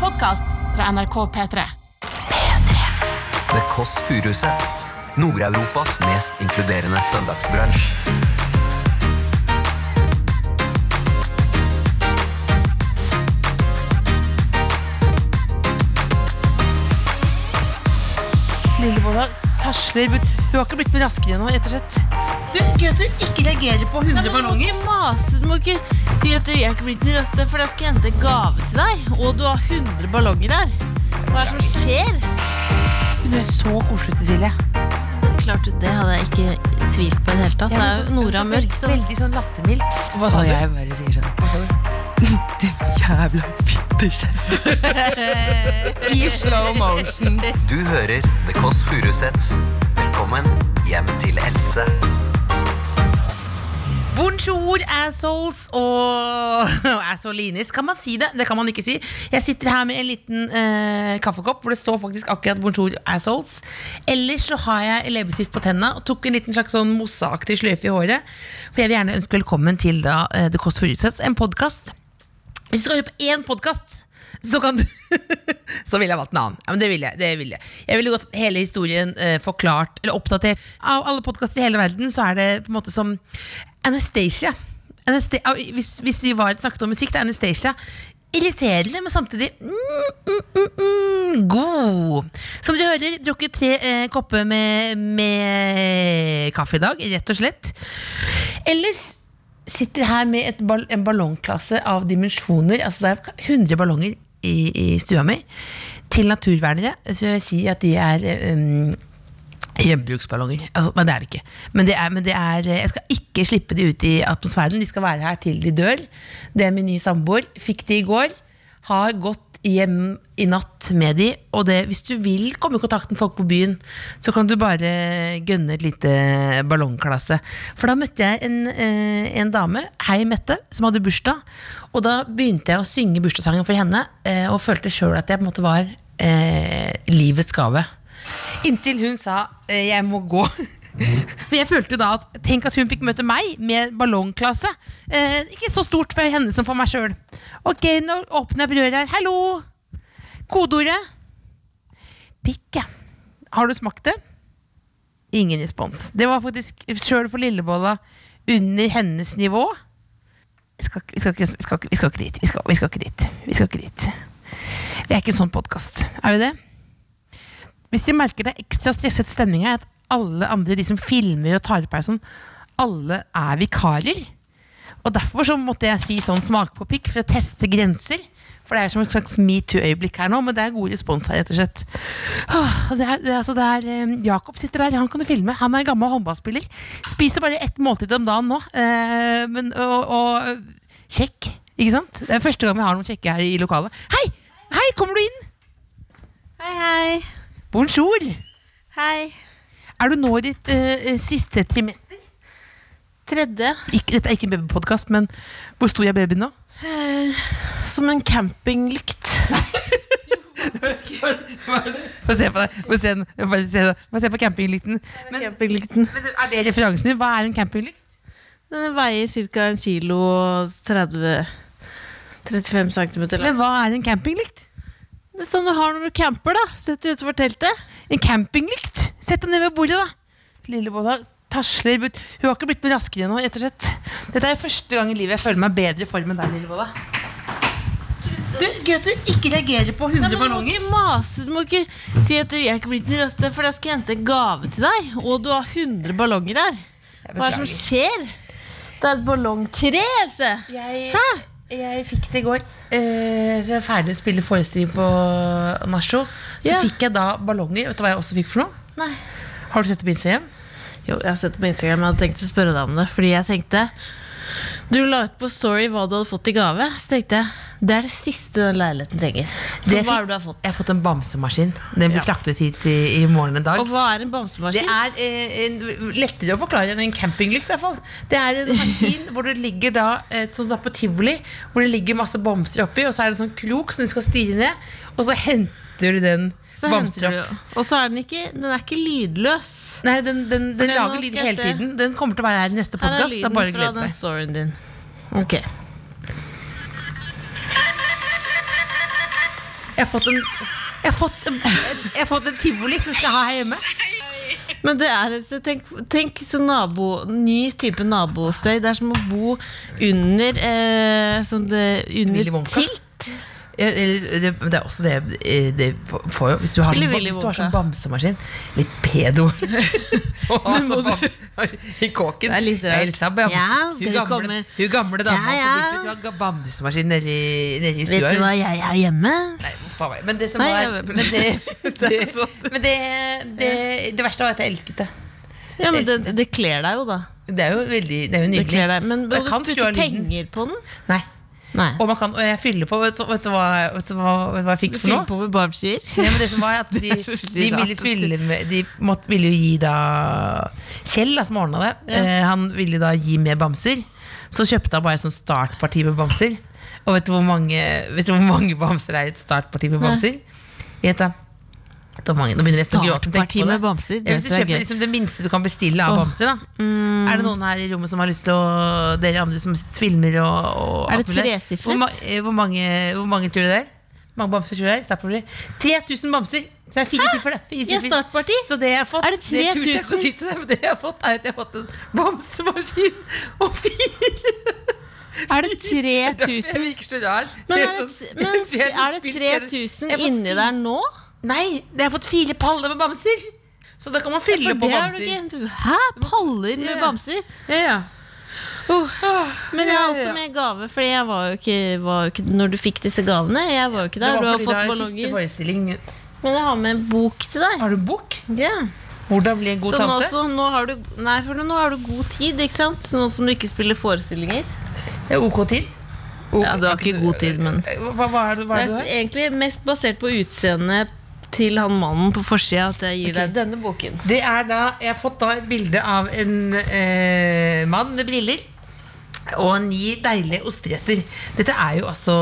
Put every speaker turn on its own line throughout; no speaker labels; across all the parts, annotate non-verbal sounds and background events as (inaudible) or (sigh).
podkast fra NRK P3.
The Kåss Furuseths. Nord-Europas mest inkluderende søndagsbransj.
Lillebolla tasler ut. Hun har ikke blitt noe raskere nå, rett og slett.
Du, gøy at du ikke reagerer på
Nei,
100
men du må
ballonger.
ikke mase, du må ikke si at jeg ikke blitt noe raskere, for jeg skal hente en gave til deg. Og du har 100 ballonger der. Hva er det som skjer? Hun er så koselig, Cecilie.
Klart det hadde jeg ikke tvilt på i det hele tatt. Det er jo Nora Mørk som
Veldig sånn lattermild. Hva sa du? Jeg bare sier sånn. Hva sa du? Din jævla fittekjerring.
I slow motion.
Du hører The Kåss Furuseths. Velkommen hjem til Else.
Bonjour, assholes og (laughs) assolines. Kan man si det? Det kan man ikke si. Jeg sitter her med en liten eh, kaffekopp hvor det står faktisk akkurat bonjour, assholes. Ellers så har jeg leppestift på tenna og tok en liten slags sånn mosseaktig sløyfe i håret. For jeg vil gjerne ønske velkommen til da, eh, The Kåss Furuseths, en podkast. Hvis du skal høre på én podkast, så kan du (laughs) Så ville jeg valgt en annen. Ja, men det ville jeg. det ville Jeg Jeg ville gått hele historien eh, forklart eller oppdatert. Av alle podkaster i hele verden så er det på en måte som Anastacia. Anasta ah, hvis, hvis vi var, snakket om musikk, det er Anastacia. Irriterende, men samtidig mm, mm, mm, mm, god. Som dere hører, drukket tre eh, kopper med, med kaffe i dag, rett og slett. Ellers sitter her med et ball en ballongklasse av dimensjoner. Altså det er 100 ballonger i, i stua mi til naturvernere. Så jeg sier at de er eh, um, hjemmebruksballonger. Altså, nei, det er det ikke. Men, det er, men det er, eh, jeg skal ikke slippe de ut i atmosfæren. De skal være her til de dør. Det er min nye samboer. Fikk de i går. Har gått hjem i natt med de. Og det, hvis du vil komme i kontakt med folk på byen, så kan du bare gønne et lite ballongklasse. For da møtte jeg en, eh, en dame, hei Mette, som hadde bursdag. Og da begynte jeg å synge bursdagssangen for henne, eh, og følte sjøl at jeg på en måte var eh, livets gave. Inntil hun sa eh, 'jeg må gå'. (laughs) For jeg følte jo da at Tenk at hun fikk møte meg med ballongklasse. Eh, ikke så stort for henne som for meg sjøl. Ok, nå åpner jeg brødet her. Hallo! Kodeordet Pikk, ja. Har du smakt det? Ingen respons. Det var faktisk sjøl for lillebolla under hennes nivå. Vi skal, ikke- vi skal, ikke- vi skal, ikke- vi skal ikke dit. Vi skal, vi skal ikke dit. Vi skal ikke dit. Vi er ikke en sånn podkast. Er vi det? Hvis de merker det er ekstra stresset stemning her, at alle andre, de som filmer og tar opp her, sånn, alle er vikarer. Og derfor så måtte jeg si sånn smak på pikk for å teste grenser. For det er som et slags metoo-øyeblikk her nå, men det er god respons her, rett og slett. Åh, Det er, det er, altså det er, eh, Jakob sitter der, han kan du filme. Han er en gammel håndballspiller. Spiser bare ett måltid om dagen nå. Eh, men, og, og kjekk, ikke sant? Det er første gang vi har noen kjekke her i lokalet. Hei! Hei, kommer du inn?
Hei, hei.
Bonjour!
Hei.
Er du nå i ditt eh, siste trimester?
Tredje.
Ikke, dette er ikke en babypodkast, men hvor stor er babyen nå?
Eh, Som en campinglykt.
(laughs) Få se på deg. Få se, den. Få se, den. Få se på campinglykten. Men,
Campinglykten.
men er det referansen din? Hva er en campinglykt?
Den veier ca. 1 kilo og 30 35 cm.
Men hva er en campinglykt?
Det er sånn du har når du camper, da. Setter du utenfor teltet.
En campinglykt? Sett deg ned ved bordet, da. Lillebolla tasler ut. Hun har ikke blitt noe raskere nå, rett og slett. Dette er første gang i livet jeg føler meg bedre i form enn deg, Lillebolla.
Du, gøy at du ikke reagerer på 100
Nei, men du må
ballonger.
ikke mase. Du må ikke si at jeg er ikke blitt den raste, for jeg skal hente en gave til deg. Og du har 100 ballonger der. Hva er det som skjer? Det er et ballongtre, Else.
Jeg,
Hæ?
jeg fikk det i går. Eh, vi var ferdig å spille forestilling på Nacho. Så
Ja.
fikk jeg da ballonger. Vet du hva jeg også fikk for noe?
Nei.
Har du sett det på Instagram?
Jo, jeg har sett det på Instagram, jeg hadde tenkt å spørre deg om det. Fordi jeg tenkte Du la ut på Story hva du hadde fått i gave. Så tenkte jeg det er det siste den leiligheten trenger.
Det
hva
fikk-
er det du har fått?
Jeg har fått en bamsemaskin. Den blir slaktet hit i, i morgen en dag.
Og hva er
Det
en bamsemaskin?
er eh, en, lettere å forklare enn en campinglykt. i hvert fall Det er en (laughs) maskin hvor det ligger da eh, Som du har på tivoli, hvor det ligger masse bamser oppi, og så er det en sånn krok som du skal styre ned, og så henter du den
Så
bamser
henter
opp.
du, og så er den ikke Den er ikke lydløs.
Nei, den, den, den
nå
lager
skal
lyd
jeg
hele
se.
tiden. Den kommer til å være her i neste
Her er
podkast. Det er bare å
lyden fra
glede
den
seg.
storyen din. Ok
Jeg har fått en jeg har fått, en- jeg har fått en tivoli som jeg skal ha her hjemme.
Men det er altså, tenk, tenk sånn nabo, ny type nabostøy. Det er som å bo under eh, sånn det,
Willy
under
Wonka.
tilt.
Ja, eller det, det er også det, eh, det får jo, Hvis du har sånn,
Eller
ba-
Willy
hvis du har
Wonka.
sånn bamsemaskin Litt
(laughs)
pedo. (laughs) Og altså bam- I kåken.
Det er litt rart.
Elsa bamse.
Ja, skal
hun,
du
gamle,
komme?
hun gamle dama
Ja, ja.
på Bislett, hun har ga- bamsemaskin nedi, nedi stua.
Vet du hva jeg har hjemme?
Nei, faen meg. Men det som
Nei,
var
jeg-
Men,
(laughs)
det, (laughs) det,
sånn.
men det, det, det verste var at jeg elsket det.
Ja, men Det, det kler deg jo, da.
Det er jo veldig det er jo
Det
nydelig.
kler deg. Men
Jeg
du
kan
putter
skru av lyden.
penger på den?
Nei.
Nei.
Og, man kan, og jeg fyller på. Vet du, vet du, hva, vet du, hva, vet du hva jeg fikk
Du
for
fyller
noe?
på med barbeskier?
(laughs) Nei, men det som
(laughs)
var at de,
så veldig
de
rart
ville
at
fylle med De måtte, ville jo gi da Kjell, da, som ordna det, eh, han ville da gi med bamser. Så kjøpte han bare et sånt startparti med bamser. Og vet du hvor mange, vet du hvor mange bamser det er i et startparti med bamser? Gjett, da. Det var mange. Nå begynner jeg nesten å gråte. når jeg
Startparti
tenker på
med
det.
bamser,
Ja,
det
Hvis du
er
kjøper
gøy.
liksom det minste du kan bestille av
Åh. Mm.
bamser, da. Er det noen her i rommet som har lyst til å Dere andre som filmer og, og
Er det
alt mulig?
tresifret?
Hvor, ma eh, hvor, mange, hvor mange tror du det er? Hvor mange bamser tror du det er? Startparti. 3000 bamser! Så det er fire siffer, det. Fire
Ja,
siffer.
startparti.
Så det jeg har fått
Er det
det turte jeg ikke å
3000?
si til deg, men det jeg har fått, er at jeg har fått en bamsemaskin og fire
Er det
Det
3000?
virker så rart.
Men
Det
er det,
sånn-
men
(laughs) jeg har
er det
spilt-
3000
jeg har fått
inni der nå?
Nei, det har fått fire paller med bamser. Så da kan man fylle
For
på
det er
bamser.
vel ikke- Hæ? Paller
Ja.
med bamser?
Ja, ja.
Men
Ja,
jeg har
ja,
også
ja.
med gave, Fordi jeg var jo ikke, var jo ikke Når du fikk disse gavene. Jeg var jo ikke
Det
Ah, der.
var
Du har
fordi
fått
det er siste
ballonger.
forestilling.
Men jeg har med en bok til deg.
Har du bok?
Ja.
Hvordan bli en god
Så nå,
tante?
så, nå, har du, nei, for nå har du god tid, ikke sant? Så nå som du ikke spiller forestillinger.
Ja, OK tid? O-
Ja, du har ikke god tid, men
Hva, hva er det, hva
Det
er det
er
du
s-
har?
egentlig mest basert på utseendet til han mannen på forsida at jeg gir deg denne boken.
Det er da, Jeg har fått da et bilde av en eh, mann med briller. Og ni deilige osteretter. Dette er jo altså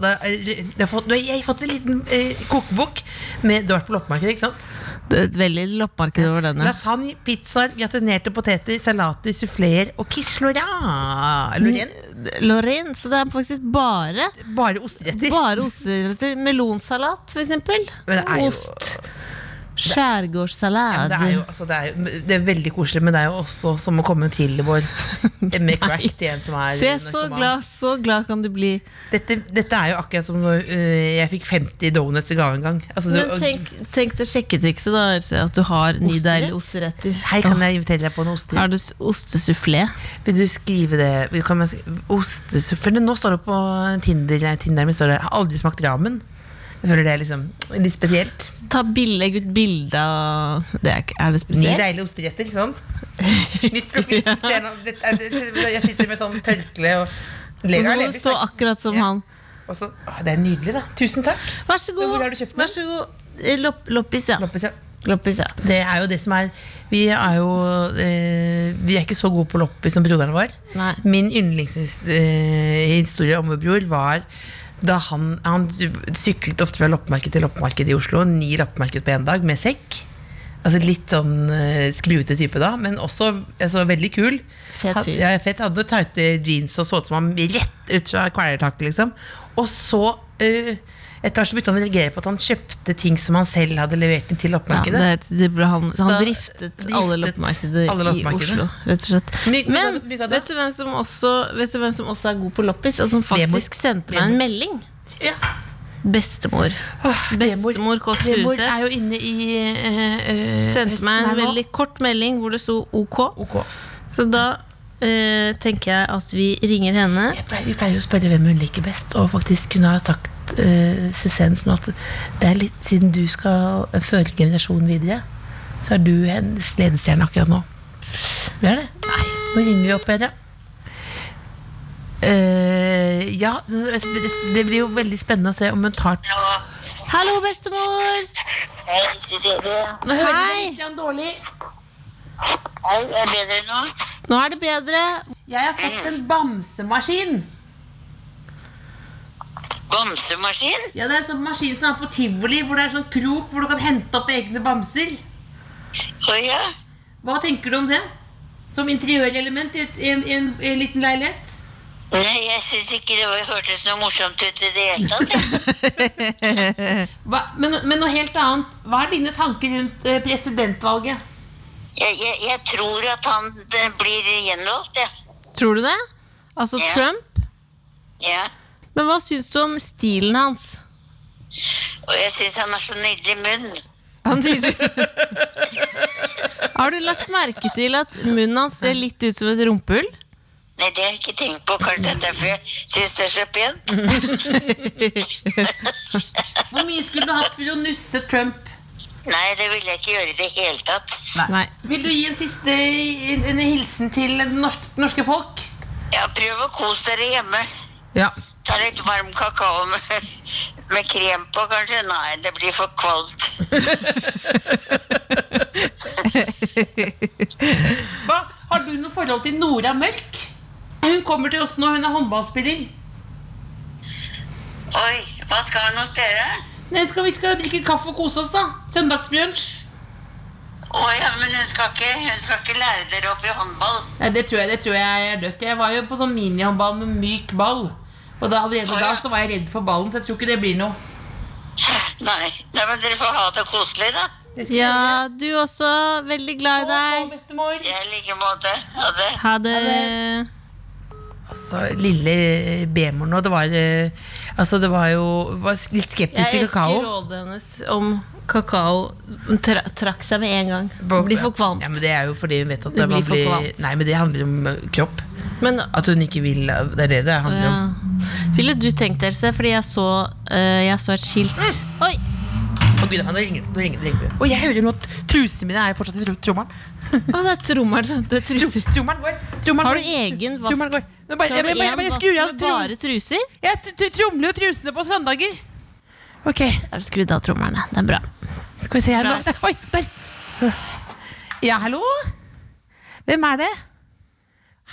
det er, det har fått, nå har Jeg fått en liten eh, kokebok med Du har vært på loppemarkedet, ikke sant?
Det er et veldig loppemarked over denne.
Lasagne, pizzaer, gratinerte poteter, salater, suffleer og quiche lorrain. Lorraine.
Lorraine, så det er faktisk bare
Bare osteretter.
Bare osteretter. Melonsalat, for eksempel.
Men det er jo-
Ost.
Ja,
Skjærgårdssalat.
Det er jo altså, det er, jo- det er veldig koselig, men det er jo også som å komme til
(laughs)
vår med crack til en som er
Se, så
narkoman.
glad, så glad kan du bli.
Dette, dette er jo akkurat som når øh, jeg fikk 50 donuts i gave en gang. Altså,
Men
du-
tenk, tenk det sjekketrikset, da. Else, At du har ni deilige osteretter.
Hei, kan jeg invitere deg på en oster?
Har du s- ostesufflé?
Vil du skrive det? Kan jeg skrive, ostesuffle? Nå står det på Tinder, Tinder min står det 'Har aldri smakt ramen'. Jeg føler det er liksom litt spesielt.
Ta bil- Legg ut bilde av det er, ikke- er det
Ni
spesielt?
deilige osteretter, sånn. Nytt profil. (laughs) du ser nå- dette er- Jeg sitter med sånn tørkle og
Og
ler
så
av
må du stå akkurat som
Ja.
han.
Og så, å, det er nydelig, da. Tusen takk.
Vær så
Hvor
god.
har du kjøpt den?
Vær så god. Eh, Lopp, loppis, ja.
Loppis, ja.
Loppis, ja.
Det er jo det som er Vi er jo eh, Vi er ikke så gode på loppis som broderen vår.
Nei.
Min yndlingshistorie om vår bror var da han, han syklet ofte fra loppemarked til loppemarked i Oslo. Ni loppemarked på én dag med sekk. Altså Litt sånn eh, skruete type da, men også altså, veldig kul.
Fet
Han-
fyr.
Ja, fett. Hadde tighte jeans og så ut som han rett ut fra kvelertaket, liksom. Og så eh, etter hvert så begynte han å reagere på at han kjøpte ting som han selv hadde levert inn til
ja
loppemarkedet.
det er, det ble han
Så
han
da
driftet, alle
driftet
loppemarkeder
alle
i
loppemarkedene.
Oslo, rett og slett.
Mygg-
Men
mygg- mygg-
vet du, hvem som også, vet du hvem som også er god på loppis? Og som faktisk sendte meg en melding?
Ja.
Bestemor. Bestemor Kåss
Vemor er
Furuseth
jo inne i eh, eh,
sendte
høsten
meg
her
en
nå.
veldig kort melding hvor det sto OK.
Ok.
Så da eh, tenker jeg at vi ringer henne.
Jeg pleier, vi pleier jo å spørre hvem hun liker best, og faktisk kunne ha sagt eh, essensen at det er litt siden du skal føre generasjonen videre, så er du hennes ledestjerne akkurat nå. Vi er det. Nei, nå ringer vi opp dere. Eh, ja, det det blir jo veldig spennende å se om hun tar
Hallo, bestemor!
Hei, Cecilie.
Hei!
Hei, er det bedre nå?
Nå er det bedre.
Jeg har fått en bamsemaskin!
Bamsemaskin?
Ja, det er en sånn maskin som er på tivoli, hvor det er sånn krok hvor du kan hente opp egne bamser.
Å ja.
Hva tenker du om det? Som interiørelement i, et, i, en, i, en, i en liten leilighet?
Nei, jeg syns ikke det var, hørtes noe morsomt ut i det hele tatt. jeg.
Hva, men, men noe helt annet. Hva er dine tanker rundt eh, presidentvalget?
Jeg, jeg, jeg tror at han eh, blir gjenvalgt, jeg.
Tror du det? Altså
Ja.
Trump?
Ja.
Men hva syns du om stilen hans?
Og jeg syns han har så nydelig munn.
Han tyder- Har du lagt merke til at munnen hans ser litt ut som et rumpehull?
Nei, det har jeg ikke tenkt på. Kanskje det er derfor jeg syns det er så pent.
Hvor mye skulle du hatt for å nusse Trump?
Nei, det ville jeg ikke gjøre i det hele tatt.
Nei.
Vil du gi en siste en, en hilsen til det norske, norske folk?
Ja, prøv å kose dere hjemme.
Ja.
Ta litt varm kakao med, med krem på, kanskje. Nei, det blir for kvalmt.
Hva, har du noe forhold til Nora Mørk? Hun kommer til oss nå, hun er håndballspiller.
Oi, hva skal han hos dere?
Nei, skal, vi skal drikke kaffe og kose oss, da. Søndagsbrunsj.
Å ja, men hun skal, ikke, hun skal ikke lære dere opp i håndball.
Nei, det tror jeg, det tror jeg er dødt. Jeg var jo på sånn minihåndball med myk ball. Og da, allerede da så var jeg redd for ballen, så jeg tror ikke det blir noe.
Nei, Nei men dere får ha det koselig, da.
Ja, du også. Veldig glad i
Å,
deg.
bestemor.
I like måte. Ha det.
Ha det.
Altså, lille B-mor nå, det var eh, Altså, det var jo var litt skeptisk
Jeg
til
elsker
kakao.
rådet hennes om kakao. Hun tra trakk seg med en gang. Det blir for kvalmt.
Ja, men det er jo fordi hun vet at
Det
man
blir for
blir
kvalmt.
Nei, men det handler om eh, kropp.
Men
At hun ikke vil eh, Det er det det handler om.
ja. Ville du tenkt dere seg, fordi jeg så, eh, jeg så et skilt
Mm.
Oi!
Å gud, nå ringer det. Nå ringer det, nå ringer det. Å, jeg hører nå at trusene mine er fortsatt i tro- trommelen.
Å, det er trommeren. som- Det er truser.
Trommelen går. Trommeren
Har du
går.
egen vask?
Trommelen går. Men bare,
Så
jeg,
har
jeg,
du
jeg, jeg,
en
jeg
vask
skrur av
med
trom-
bare truser?
Jeg t- t- tromler jo trusene på søndager. Ok,
Da er det skrudd av trommerne. Det er bra.
skal vi se her nå. Der, Oi, der. Ja, hallo? Hvem er det?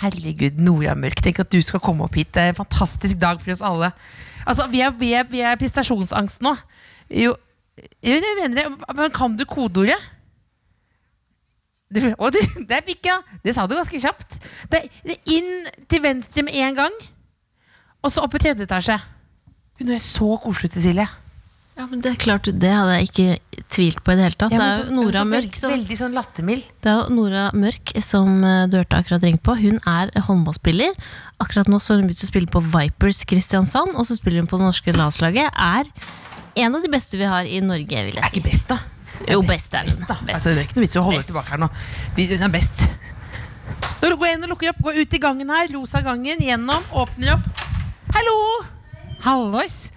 Herregud, Nora Mørk, tenk at du skal komme opp hit. Det er en fantastisk dag for oss alle. Altså, Vi er, vi er, vi er prestasjonsangst nå. Jo, jo, det mener jeg. Men kan du kodeordet? Du, å, du, der fikk jeg Det sa du ganske kjapt. Det, det er inn til venstre med en gang, og så opp i tredje etasje. Hun er så koselig, Cecilie.
Ja, men Det er klart, det hadde jeg ikke tvilt på i det hele tatt.
Ja,
det
men
er
så-
jo Nora
så
Mørk
veld-
som,
Veldig sånn lattermild.
det er jo Nora Mørk som eh, du hørte akkurat ringe på. Hun er håndballspiller. Akkurat nå så har hun begynt å spille på Vipers Kristiansand, og så spiller hun på det norske landslaget. Er en av de beste vi har i Norge, vil
Er
jeg si.
ikke best, da.
Jo, best er hun.
Da.
Best.
Altså, det er ikke noe vits i å holde
Best.
tilbake her nå. Vi- Hun er best. Nå Gå inn og lukker opp. Gå ut i gangen her. Rosa gangen. Gjennom. Åpner opp. Hallo! Hallois.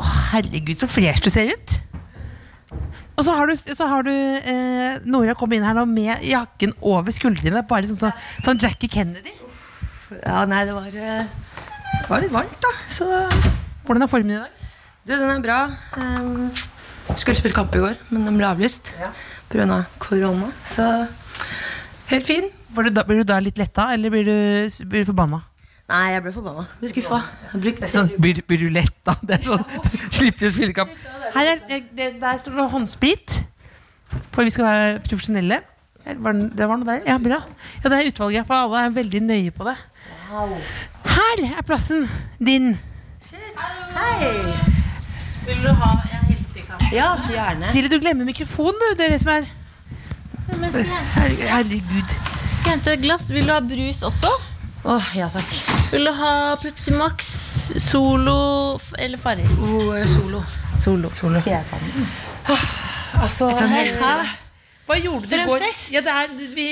Å, herregud, så fresh du ser ut. Og så har du, så har du eh, Nora kom inn her nå med jakken over skuldrene. Bare sånn, sånn, sånn Jackie Kennedy.
Ja, nei, det var, eh, det var litt varmt, da. Så
Hvordan er formen i dag?
du, den er bra. Ehm, skulle spilt kamp i går, men den ble avlyst pga. av korona. Så helt fin.
Var du da, blir du da litt letta, eller blir du, blir du forbanna?
Nei, jeg ble forbanna. Ble skuffa. Jeg brukte
Sånn, blir, du- blir du lett da? Det er sånn, (laughs) Slipp til spillekamp. Her er, eh, det, der står det håndsprit. For vi skal være profesjonelle. Her Var, den- det var noe der? Ja, bra. Ja, det er utvalget, for alle er veldig nøye på det. Her er plassen din.
Ja, gjerne.
Silje, du glemmer mikrofonen, du. Det er det som er Her- Herregud.
Skal jeg hente et glass? Vil du ha brus også?
Åh, ja takk.
Vil du ha Pepsi Max, Solo f- eller Farris?
God eh, solo.
Solo.
Altså,
Hæ?
hva gjorde du
For
i
en
går?
fest!
Ja, det, er, vi,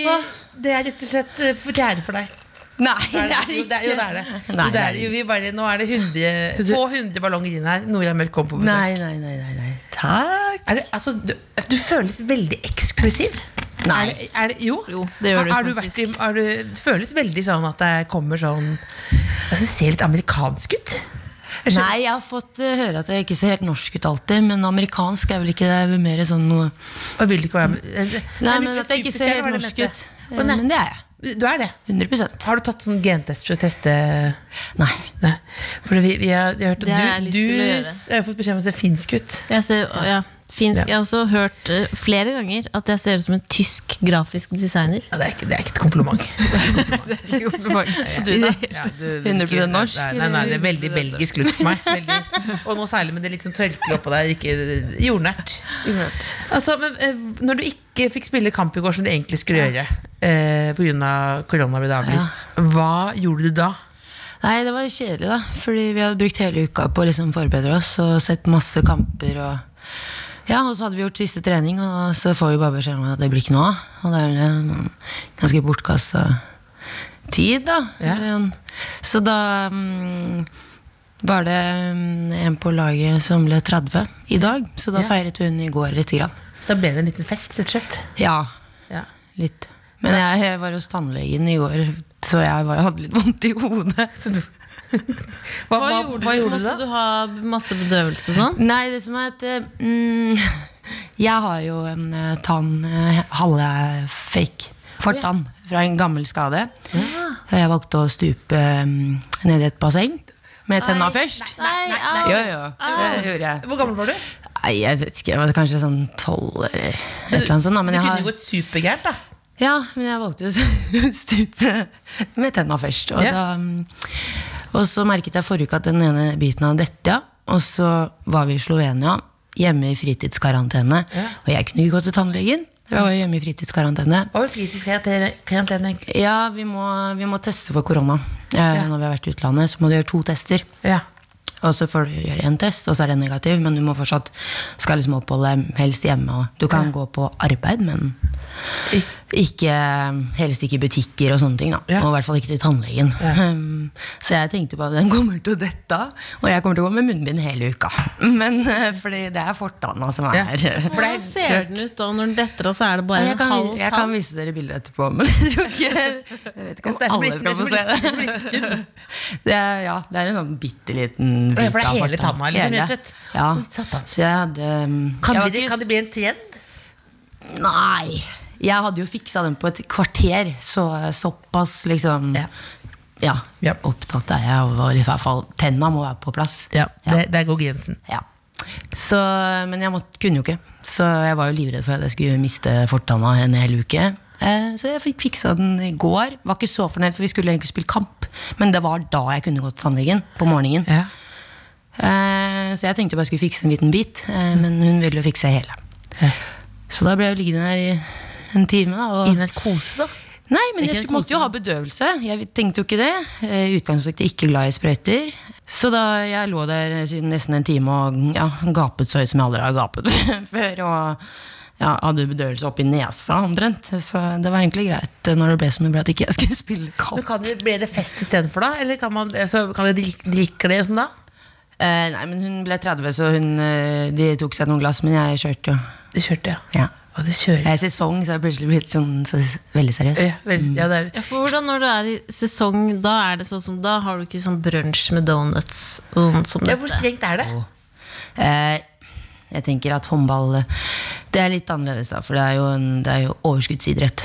det er rett og slett eh, for kjære for deg.
Nei,
Jo,
det er det
jo,
ikke.
Jo, det er det. Jo,
Nei,
det er det. Jo, vi bare, nå er det 100, få 100 ballonger inn her. Nora Mørk kom på besøk.
Nei, nei, nei, nei, nei. Takk.
Er det, altså, du, du føles veldig eksklusiv.
Nei.
Er det, er det, jo.
Jo, det gjør du
Har- har vært i, har du, det føles veldig sånn at det kommer sånn altså, Det ser litt amerikansk ut. Jeg skjønner-
Nei, jeg har fått eh, høre at jeg ikke ser helt norsk ut alltid, men amerikansk er vel ikke det. det er mer sånn noe
Da vil du ikke være med. Nei,
Nei,
du
men
ikke
at jeg ikke
superstjerne,
ser
var
helt
det
norsk
mente.
ut.
Å,
Eh,
nei.
Men det er jeg.
Du er det.
100
Har du tatt sånn gentest for å teste
Nei.
Nei. For vi, vi har, jeg har hørt
Det har jeg
at
lyst
du,
til å
du
gjøre.
s- har fått beskjed om å se finsk ut.
Jeg ser, ja, Finsk.
Ja.
Jeg har også hørt eh, flere ganger at jeg ser ut som en tysk grafisk designer.
Ja, det, er ikke, det er ikke et
(laughs)
kompliment.
Du, da?
(laughs) Ja,
(laughs)
du-
100% norsk,
Nei, nei, nei, det er veldig belgisk look på meg. Veldig. Og nå særlig med det litt sånn tørkle oppå der. Ikke jordnært. Altså, men eh, Når du ikke fikk spille kamp i går som du egentlig skulle gjøre, eh, pga. korona ble det avlyst, hva gjorde du da?
Nei, det var jo kjedelig, da. Fordi vi hadde brukt hele uka på å liksom forberede oss og sett masse kamper. og... Ja, og så hadde vi gjort siste trening, og så får vi bare beskjed om at det blir ikke noe av. Og det er jo en ganske bortkasta tid, da.
Ja.
Eller en- Så da mm, var det mm, en på laget som ble 30 i dag, så da feiret hun i går lite grann.
Så da ble det en liten fest, rett og slett.
Ja,
Ja.
litt. Men jeg, jeg var hos tannlegen i går, så jeg var, hadde litt vondt i hodet. Så du
Hva, hva, hva, gjorde du da?
Måtte du ha masse bedøvelse og sånn?
Nei, det som er at eh, mm, (laughs) Jeg har jo en eh, tann eh, halve fake fortann fra en gammel skade. Og Jeg valgte å stupe um, ned i et basseng med tenna først.
Nei, au.
Jo, jo, det gjorde jeg.
Hvor gammel var du?
Nei, jeg vet ikke, jeg var kanskje sånn tolv eller et eller annet sånt. da,
Det
Men jeg,
kunne
har,
jo gått supergærent, da.
ja, men jeg valgte jo å (laughs) stupe med tenna først. Og,
Ja.
da, mm, og så merket jeg forrige uke at den ene biten hadde dette. Ja. Og så var vi i Slovenia, hjemme i fritidskarantene. Og jeg kunne ikke gå til tannlegen. Jeg var hjemme i fritidskarantene.
Hva var kritisk karantene, egentlig?
Ja, vi må, vi må teste for korona. Eh, Når vi har vært i utlandet, så må du gjøre to tester.
Ja.
Og så får du gjøre en test, og så er den negativ, men du må fortsatt skal liksom oppholde deg helst hjemme. Og du kan gå på arbeid, men ikke, helst ikke i butikker og sånne ting. Da.
Ja.
Og i hvert fall ikke til tannlegen. (laughs) Um, så jeg tenkte på at den kommer til å dette av, og jeg kommer til å gå med munnbind hele uka. (laughs) Men eh, fordi det er fortanna som
Ja.
er
For det
Hvordan
er
ser den ut da? Når den detter av, så er det bare
Jeg
en
kan,
halv
jeg kan
tann.
vise dere bildet etterpå, (laughs) men jeg tror ikke Jeg vet ikke om
Det er som
alle
blitt-
skal få
det
se
er
det.
som blitt- det er som blitt
(laughs) Det er, ja, det er en sånn bitte liten
Å ja, for det er hele tanna, liksom, rett og slett.
Ja.
Oi, satan.
Så jeg hadde um,
Kan,
jeg var
bli,
ikke-
kan det bli en trend?
Nei. Jeg hadde jo fiksa den på et kvarter, så såpass liksom
Ja.
Ja.
Ja.
Opptatt er jeg, og i hvert fall tenna må være på plass. Ja.
Det, der går grensen.
Ja. Så, men jeg måtte, kunne jo ikke. Så jeg var jo livredd for at jeg skulle miste fortanna en hel uke. Eh, Så jeg fikk fiksa den i går. Var ikke så fornøyd, for vi skulle egentlig spille kamp. Men det var da jeg kunne gå til tannlegen. På morgenen.
Ja.
Eh, Så jeg tenkte bare jeg skulle fikse en liten bit, eh, men hun ville jo fikse hele. Så da ble jeg liggende her i en time. da, Og
narkose, da?
Nei, men jeg
Ikke
skulle, måtte jo ha bedøvelse. Jeg tenkte jo ikke det. Eh, I utgangspunktet ikke glad i sprøyter. Så da jeg lå der siden nesten en time og ja, gapet så ut som jeg aldri har gapet (laughs) før, og ja, hadde bedøvelse oppi nesa omtrent, så det var egentlig greit eh, når det ble som det ble at ikke jeg skulle (laughs) spille
Men
kamp.
kan det, ble det fest istedenfor, da? Eller kan, man, altså, kan jeg drikke, drikke det og sånn, da?
Eh, nei, men hun ble 30, så hun, eh, de tok seg noen glass, men jeg kjørte jo.
Du kjørte, ja.
Ja.
Og det kjører.
Jeg er i sesong, så jeg er plutselig blitt sånn så, veldig seriøs.
Ja, vel, ja, det er,
Mm.
Ja, for hvordan når du er i sesong, da er det sånn som da har du ikke sånn brunsj med donuts og sånn som
ja,
dette.
hvor strengt er det?
Eh, jeg tenker at håndball eh, Det er litt annerledes, da, for det er jo, en, det er jo overskuddsidrett.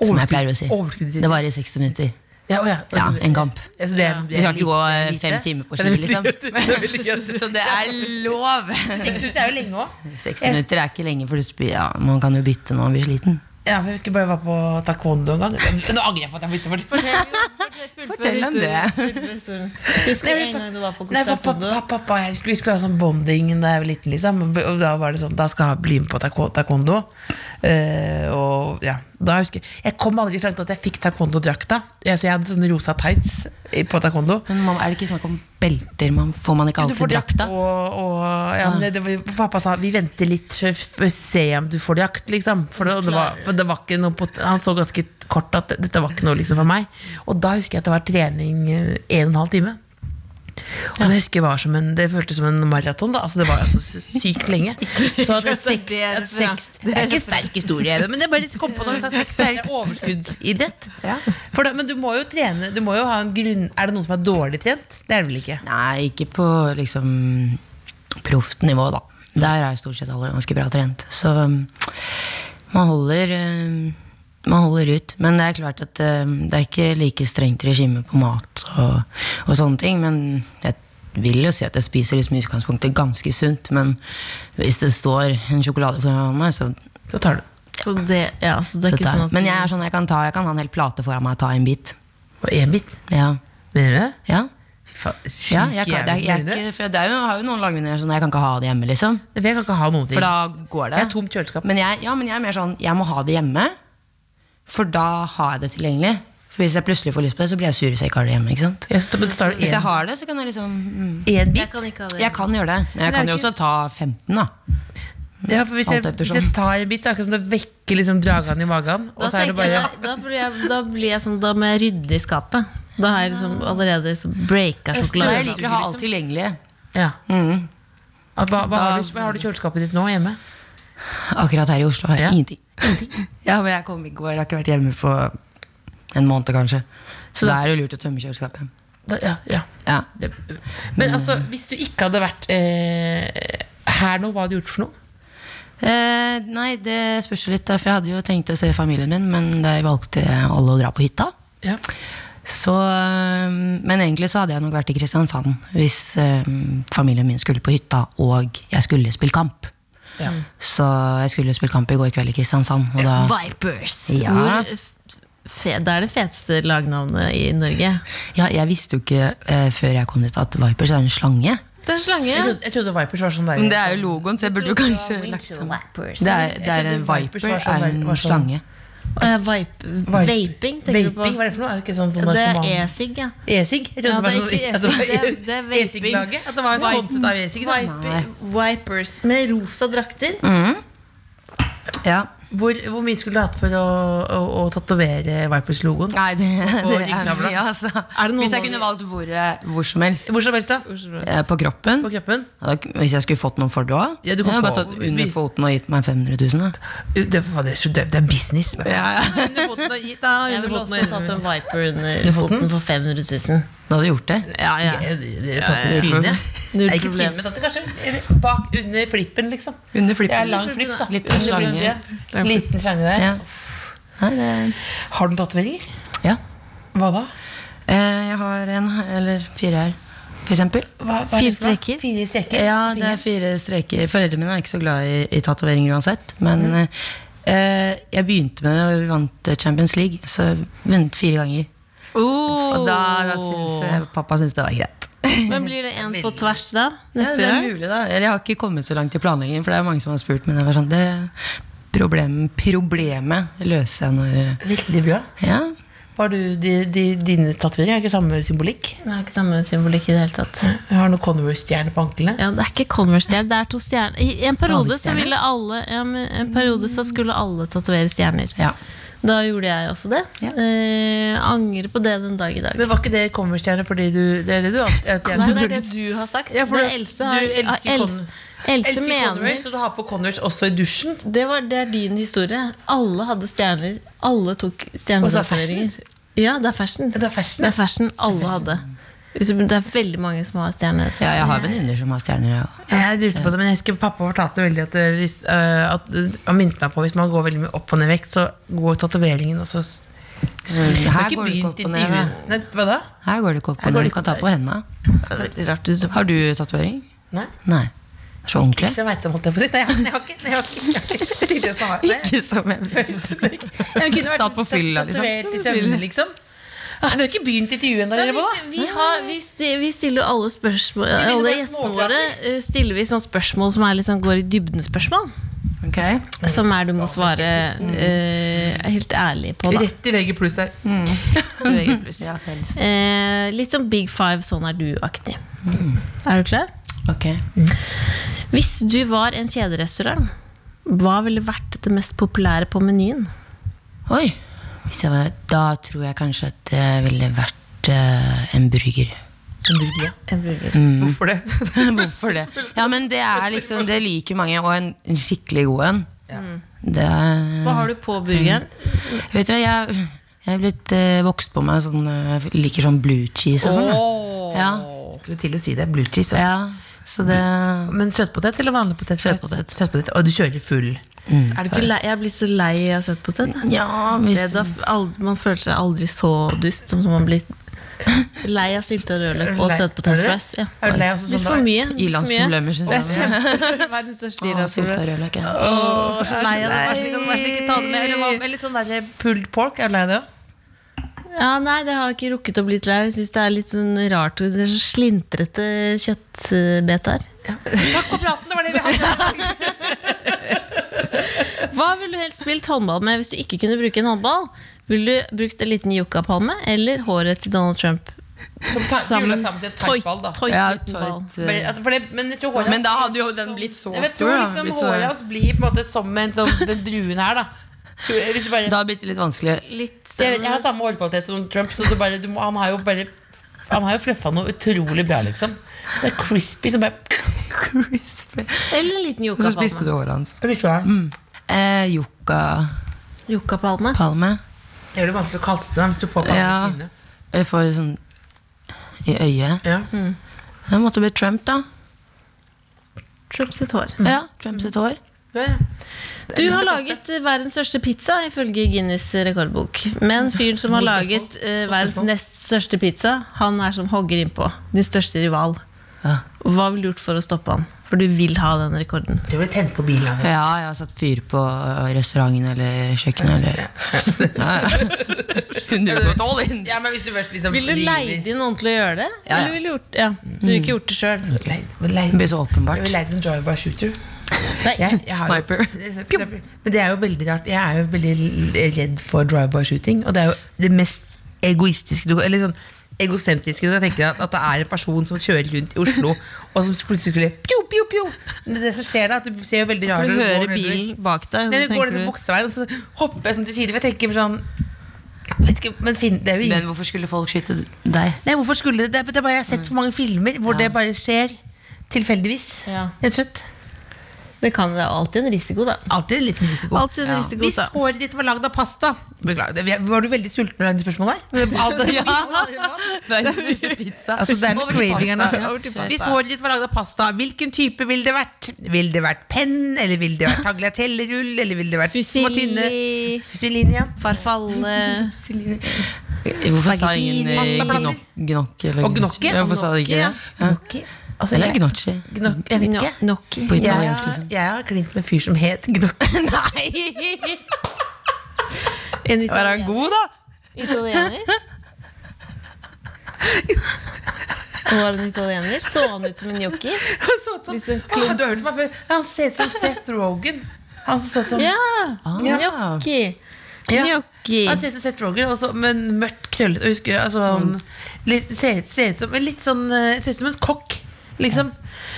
Som jeg pleier å si.
Overskuddsidrett.
Det varer i 60 minutter.
Ja, å ja.
Ja,
Altså,
en kamp.
ja, så det er- det
Vi
er
skal ikke gå
lite-
eh,
lite.
fem timer på
Ja,
ski,
det er
liksom.
veldig- (laughs) det er veldig gøy.
(laughs) Så det er (laughs) lov!
Seks minutter er jo lenge òg.
60 minutter er ikke lenge, for du spyr, ja, man kan jo bytte når man blir sliten.
Ja, men jeg husker bare jeg var på taekwondo en gang. Nå angrer jeg på at jeg bytta bort.
Fortell om det.
Husker du en gang du var på
Nei, for
Gustav
pappa, pappa, pappa jeg skulle, vi skulle ha sånn bonding da jeg var liten, liksom. Og b- Og da var det sånn, da skal jeg bli med på taeko- taekwondo. Eh, og ja, da husker jeg Jeg kom aldri så langt at jeg fikk taekwondo-drakta. Jeg, så jeg hadde sånne rosa tights i- på taekwondo.
Men man, er det ikke snakk om belter? Man, får man ikke
Du får
alltid drakta?
Og, og, ja, men det, det, var- pappa sa vi venter litt for for å se om du får drakt, liksom. For det, det, var, for det var ikke noe pot- Han så ganske kort at det- dette var ikke noe liksom, for meg. Og da husker jeg at det var trening eh, en og en halv time. Og det husker jeg var som en, det føltes som en maraton. da Altså Det var altså sy- sykt (laughs) lenge. Så at seks, at seks Det er ikke en sterk historie, Even, men jeg bare kom på når du sa seks. Det er overskuddsidrett. For da, men du må jo trene du må jo ha en grunn, Er det noen som er dårlig trent? Det er det vel ikke?
Nei, ikke på liksom proft nivå, da. Der er stort sett alle ganske bra trent. Så um, man holder um, man holder ut. Men det er klart at um, det er ikke like strengt regime på mat og, og sånne ting. Men jeg vil jo si at jeg spiser liksom i utgangspunktet ganske sunt, men hvis det står en sjokolade foran meg, så,
Så tar du.
Så det, ja, så det
så
er ikke
tar
sånn
jeg.
at
Men
du-
jeg er sånn jeg kan ta Jeg kan ha en hel plate foran meg og ta en bit.
Og én bit.
Ja,
Mener du det?
ja.
Fy faen, syk
ja jeg, kan,
jævel,
jeg, jeg,
mener du
er ikke- for det er jo, jeg har jo noen langvinner sånn jeg kan ikke ha det hjemme, liksom.
det? Jeg kan ikke ha noen ting.
For da går det.
Jeg har tomt kjøleskap.
Men jeg, ja, men jeg er mer sånn Jeg må ha det hjemme, for da har jeg det tilgjengelig. For Hvis jeg plutselig får lyst på det, så blir jeg sur hvis jeg ikke har det hjemme. ikke sant?
Ja, så, men da tar du
Hvis jeg
én-
har det, så kan jeg liksom mm,
én
Jeg
bit.
kan ikke ha det.
Jeg kan gjøre det. Men jeg kan jo også ta 15, da.
Ja, for hvis jeg,
Alt
hvis
ettersom.
jeg tar en bit, så er det akkurat som det vekker liksom dragene i magen.
Da,
Og så er det
tenker
bare
jeg, da, blir jeg, da blir jeg sånn Da må jeg rydde i skapet. Da har jeg liksom allerede liksom breaka
Jeg
Da
sjokolade.
jeg liker å ha alt tilgjengelig. Mm.
Ja. At, hva, hva, har
Da-
du, hva har du i kjøleskapet ditt nå hjemme?
Akkurat her i Oslo har jeg
Ja.
ingenting. Ja, men jeg kom i går. Jeg har ikke vært hjemme på en måned, kanskje. Så da er det jo lurt å tømme kjøleskapet.
Da, ja, ja.
Ja.
Det,
Mm.
men altså, hvis du ikke hadde vært eh, her nå, hva hadde du gjort for noe?
Eh, nei, det spørs jo litt, da, for jeg hadde jo tenkt å se familien min, men de valgte alle å dra på hytta.
Ja.
Så, øhm, men egentlig så hadde jeg nok vært i Kristiansand hvis øhm, familien min skulle på hytta og jeg skulle spille kamp.
Ja.
Så jeg skulle spille kamp i går kveld i Kristiansand. Og da,
Vipers!
Ja.
Hvor f- fe, det er det feteste lagnavnet i Norge.
ja, jeg visste jo ikke eh, før jeg kom dit at Vipers er en slange.
Det er slange.
Jeg, trodde, jeg trodde Vipers var sånn der.
Men det er jo logoen, så jeg burde jo kanskje lagt
Windshield
sammen.
Vipers.
Det er, det
Jeg
er
trodde
en
Vipers
Viper
var sånn
er
der- var
en
sånn-
slange.
Eh, vipe- Vaping, tenker du på?
Vaping, hva er det for noe? Er det ikke sånn som
Det er
narkoman?
e-sig, ja.
E-sig? Jeg trodde
Ja,
det var
det er
sånn-
ikke
at det var
e-sig, det er- det er
(laughs)
vaping.
E-sig-laget? At det var
Vipe-
sponset av e-sig? da?
Viper, Vipers med rosa drakter.
Ja.
Hvor, hvor mye skulle du hatt for å, å, å tatovere Vipers-logoen?
Nei, det, det
de
er
knavla.
mye, altså.
det noen
Hvis jeg
av de-
kunne valgt hvor, eh, hvor som helst
Hvor som helst, da?
eh, på kroppen
På kroppen?
Ja, da- Hvis jeg skulle fått noen for det òg?
Ja, du kan
jeg
få-
har bare tatt under foten og gitt meg 500 000. Da.
Det, faen, det, er, så døvt, det er business. men.
Ja, ja.
(laughs) Under foten og gitt, da.
Jeg
Under
ville
foten
også
og
tatt en Viper under foten for 500 000.
Du hadde gjort det?
Ja, ja.
Ja, det- det er Tatt i trynet.
Null
Nei, ikke
problem.
trynet, men tatt det kanskje bak under flippen, liksom.
Under
Det er
flippen.
lang flipp, da.
Liten
Under
slange.
brødet, ja. Liten slange der.
Ja. Nei, det...
Har du noen tatoveringer?
ja.
Hva da?
Eh, jeg har en, eller fire her, for eksempel.
Hva, hva er det
Fire
for noe?
streker.
Fire streker?
Ja, det er fire streker. Foreldrene mine er ikke så glad i, i tatoveringer uansett. Men
Mhm.
eh, jeg begynte med det, og vi vant eh, Champions League. Så vunnet fire ganger. Og da, da syns eh, pappa syntes det var greit.
(laughs)
Men Oh. blir det en på tvers da?
Ja,
Neste
det er
gang?
mulig, da. Eller jeg har ikke kommet så langt i planleggingen, for det er mange som har spurt. Men jeg var sånn, det problem, problemet løser jeg når
Veldig bra.
Ja.
Har du de, de, dine tatoveringer? Har ikke samme symbolikk?
Det er ikke samme symbolikk i det hele tatt.
Jeg har noen Converse-stjerner på anklene.
Ja, det er ikke Converse-stjerner, det er to stjerner. I en periode så,
Vanlige
ville alle, ja, men en periode så skulle alle tatovere stjerner.
ja.
Da gjorde jeg også det.
Ja.
Eh, angrer på det den dag i dag.
Men var ikke det Converse-stjerner fordi du Det er det du at- at jeg-
Nei, det er det du har sagt.
Ja, for
det
du-
Else har,
du elsker
Else,
Con-
Else
Elsker
mener
Converse, og du har på Converse også i dusjen.
det, var, det er din historie. Alle hadde stjerner. Alle
Og
tok
så er fashion.
stjernetatoveringer. Ja, det er fashion.
Det er fashion,
Det
ja.
er fashion alle hadde. Hvis du- Det er veldig mange som har stjerner.
ja, jeg har venninner som har stjerner. jeg også.
Jeg lurte på det, men jeg husker pappa fortalte veldig at, eh, hvis, eh, at eh, Han minte meg på hvis man går veldig mye opp og ned i vekt, så går tatoveringen og så
Her går det ikke opp og ned. da.
Nei, hva da?
Her går det ikke opp
Her
og
går
ned.
det
Du kan
ikke
ta
opp-
på henda.
Rart du
Har du tatovering?
Nei.
Nei. Så ordentlig?
Så jeg veit om holdt jeg på å si. Nei, jeg har ikke jeg har ikke- jeg har ikke- jeg har (laughs) ikke det som har- nei.
Ikke som jeg
Jeg kunne vært
Tatt på fylla, liksom.
tatovert i søvne, liksom. Ah, Vi har ikke begynt intervjuet ennå, dere
vi,
på?
vi, har, vi, sti- vi stiller jo alle spørsmål
vil jo
Alle
være
gjestene
småprater.
våre eh, stiller vi sånne spørsmål som er litt sånn, går i dybden spørsmål.
Ok.
Som er du må svare
Mm.
eh, helt ærlig på, da.
Rett i VG pluss her.
Ja, helst.
Eh, litt sånn Big Five, sånn er du-aktig. Er du klar?
Ok.
Hvis du var en kjederestaurant, hva ville vært det mest populære på menyen?
Oi. Hvis jeg var, da tror jeg kanskje at det ville vært eh, en burger.
Hvorfor (laughs) det?
Hvorfor det? Ja, men det er liksom Det liker mange, og en, en skikkelig god en. Det er-
Hva har du på burgeren?
Vet du hva, jeg, jeg er blitt eh, vokst på meg sånn eh, Jeg liker sånn blue cheese og sånn. da. Ja.
Skulle til å si det. Blue cheese. altså.
ja. Så det
Men søtpotet eller vanlig potet?
Søtpotet.
Søtpotet. Og du kjører full?
Mm. Er du ikke lei? Jeg blir så lei av søtpotet.
Ja,
Det er da- al- Man føler seg aldri så dust som man blir (laughs) Lei av sylte og
Lei- Er
rødløk og
du det?
søtpotetfries. Ja.
Er du lei av sånn
Litt
da? (laughs)
for mye. litt for mye.
Ilandsproblemer, syns jeg.
Verdens største
Å, Sylta rødløk. ja.
Åh, så lei av det. Vær så snill, vær så snill, ikke ta det med. Eller, hva- eller sånn derre pulled pork. Er du lei av det òg?
Ja, nei, det har ikke rukket å bli til her. Jeg synes det er litt sånn rart. Det er så slintrete kjøttbeter.
Takk for praten, det var det vi hadde.
(laughs) Hva ville du helst spilt håndball med hvis du ikke kunne bruke en håndball? Ville du brukt en liten yuccapalme eller håret til Donald Trump?
Som ta,
Sammen-
sammen til et
Toit-
tight-ball, da.
toit
Ja,
uten ball.
tight, eh,
Men, at- for det, men jeg tror håret
Men
hans
da
blir
hadde jo den
som-
blitt så
Jeg vet,
stor,
tror
da.
liksom
Blitt så-
håret hans blir på en måte som en, sånn, den druen her, da. Hvis du bare,
Da blir det litt vanskelig.
Litt
jeg, vet, jeg har samme hårkvalitet som Trump, så du bare, du må, han har jo bare han har jo fluffa noe utrolig bra, liksom. Det er crispy som bare
Crispy.
Eller en liten
Og så
yuccapalme.
spiste du håret hans.
Det
Eh, Yuccapalme.
Yuccapalme.
er jo vanskelig å kaste dem hvis du får
Ja. Jeg får sånn i øyet.
Ja.
Jeg måtte bli Trump, da.
Trump sitt hår.
Mm.
Ja, Trump sitt hår.
Du har laget eh, verdens største pizza, ifølge Guinness rekordbok. Men fyren som har laget eh, verdens nest største pizza, han er som hogger innpå. Din største rival.
Ja.
Hva ville du gjort for å stoppe han? For du vil ha den rekorden.
Du blir tent på bilen.
Ja, jeg har satt fyr på eh, restauranten eller kjøkkenet eller
Ja, men hvis du først liksom
Ville du leid inn noen til å gjøre det?
Ja, ja.
Eller ville du gjort, ja. Så du ikke gjort det sjøl?
Det blir så åpenbart.
Jeg vil leid en drive-by shooter.
Nei.
Jeg- jeg har jo-
Sniper.
Men det er jo veldig rart. Jeg er jo veldig redd for drive-by shooting, og det er jo det mest egoistiske du Eller sånn egosentriske du kan tenke deg. At, at det er en person som kjører rundt i Oslo, og som plutselig skulle pjo, pjo, pjo. Men Det som skjer da, at du ser jo veldig rar
For
når
du
går
hører
nedover-
bilen bak deg.
Nei,
Så
du går
tenker
ned til
du,
Bogstadveien, og så hopper jeg sånn til side. For jeg tenker sånn jeg vet ikke, men fin, det er jo ingen
Men hvorfor skulle folk skyte deg?
Nei, hvorfor skulle det det? er bare, Jeg har
Mm.
sett for mange filmer hvor det bare skjer tilfeldigvis.
Ja.
Rett og slett.
det kan det er alltid en risiko, da.
Alltid en liten risiko.
Alltid en risiko,
Hvis
da.
håret ditt var lagd av pasta Beklager, det- Var du veldig sulten når det er spørsmål (laughs) der? (laughs) Altså, det er noe craving her nå. Hvis håret ditt var lagd av pasta, hvilken type ville det vært? Ville det vært penn, eller ville det vært tagliatellerull, eller ville det vært små tynne
Fusilli,
Fusillinja.
farfalle
Hvorfor sa ingen eh,
Pastablader.
gnok- gnocchi eller
Og
gnocchi?
gnocchi.
Ja, Hvorfor sa de ikke det? Ja.
Gnocchi. Altså,
Eller
jeg,
gnocchi.
gnocchi. Jeg vet ikke.
Gnocchi.
På
Jeg,
italiensk,
har-
liksom.
jeg har klint med en fyr som het Gnocchi. (laughs)
En
Er han
italiener.
god, da?
italiener. Og var han italiener? Så han ut som en jockey?
Han så ut som
Litt sånn
Åh, Du har hørt meg før. Han ser ut som Seth Rogen. Han så ut som
Ja!
Ja.
En jockey.
Ja. Altså,
En jockey.
Han ser ut som Seth Rogen, også, men mørkt krøllet. Og husker, jeg, altså,
Mm.
han litt, ser, ut- ser ut som men litt sånn eh, Ser ut som en kokk, liksom.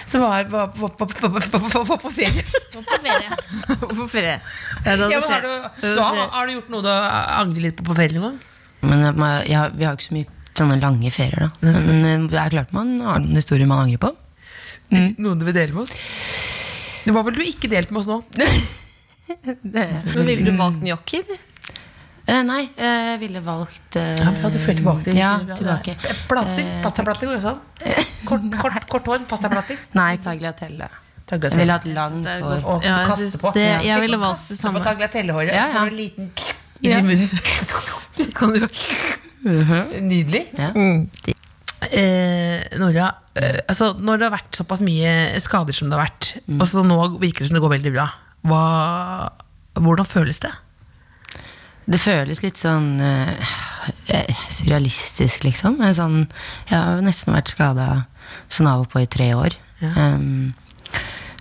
Som var var- var- var- var- var- var- var- var på ferie. (laughs)
På ferie. Ja,
Ja,
det hadde
men har,
skjedd.
du, du har, har du gjort noe du angrer litt på på ferie noen gang?
Men jeg, må- jeg, har- vi har ikke så mye sånne lange ferier, da. Men eh, det er klart man har noen historier man angrer på.
Mm. Noen du vil dele med oss? Det var vel du ikke delte med oss nå?
(laughs) Men ville du valgt en jockey? eller?
Eh, nei, eh, jeg ville valgt eh,
Ja, du føler tilbake til
Ja, tilbake. Eh,
Plater. Pastaplater, går det sånn?
(laughs)
Kort, kort, kort hår, pastaplater.
Nei, tagliatelle.
Tagliatelle.
Jeg ville hatt langt hår.
Og
Ja, jeg
kaste
synes
på.
det- jeg
Tenk
ville
å
valgt
kaste
det samme.
På tagliatellehåret,
Ja,
og så får
ja.
du en liten inn i
(laughs)
munnen. (laughs) Nydelig.
Mm.
Eh, Nora, eh, altså, når det har vært såpass mye skader som det har vært,
Mm.
og så nå virker det som det går veldig bra, hva, hvordan føles det?
Det føles litt sånn eh, surrealistisk, liksom. Jeg, er sånn, jeg har jo nesten vært skada sånn av og på i tre år. Em,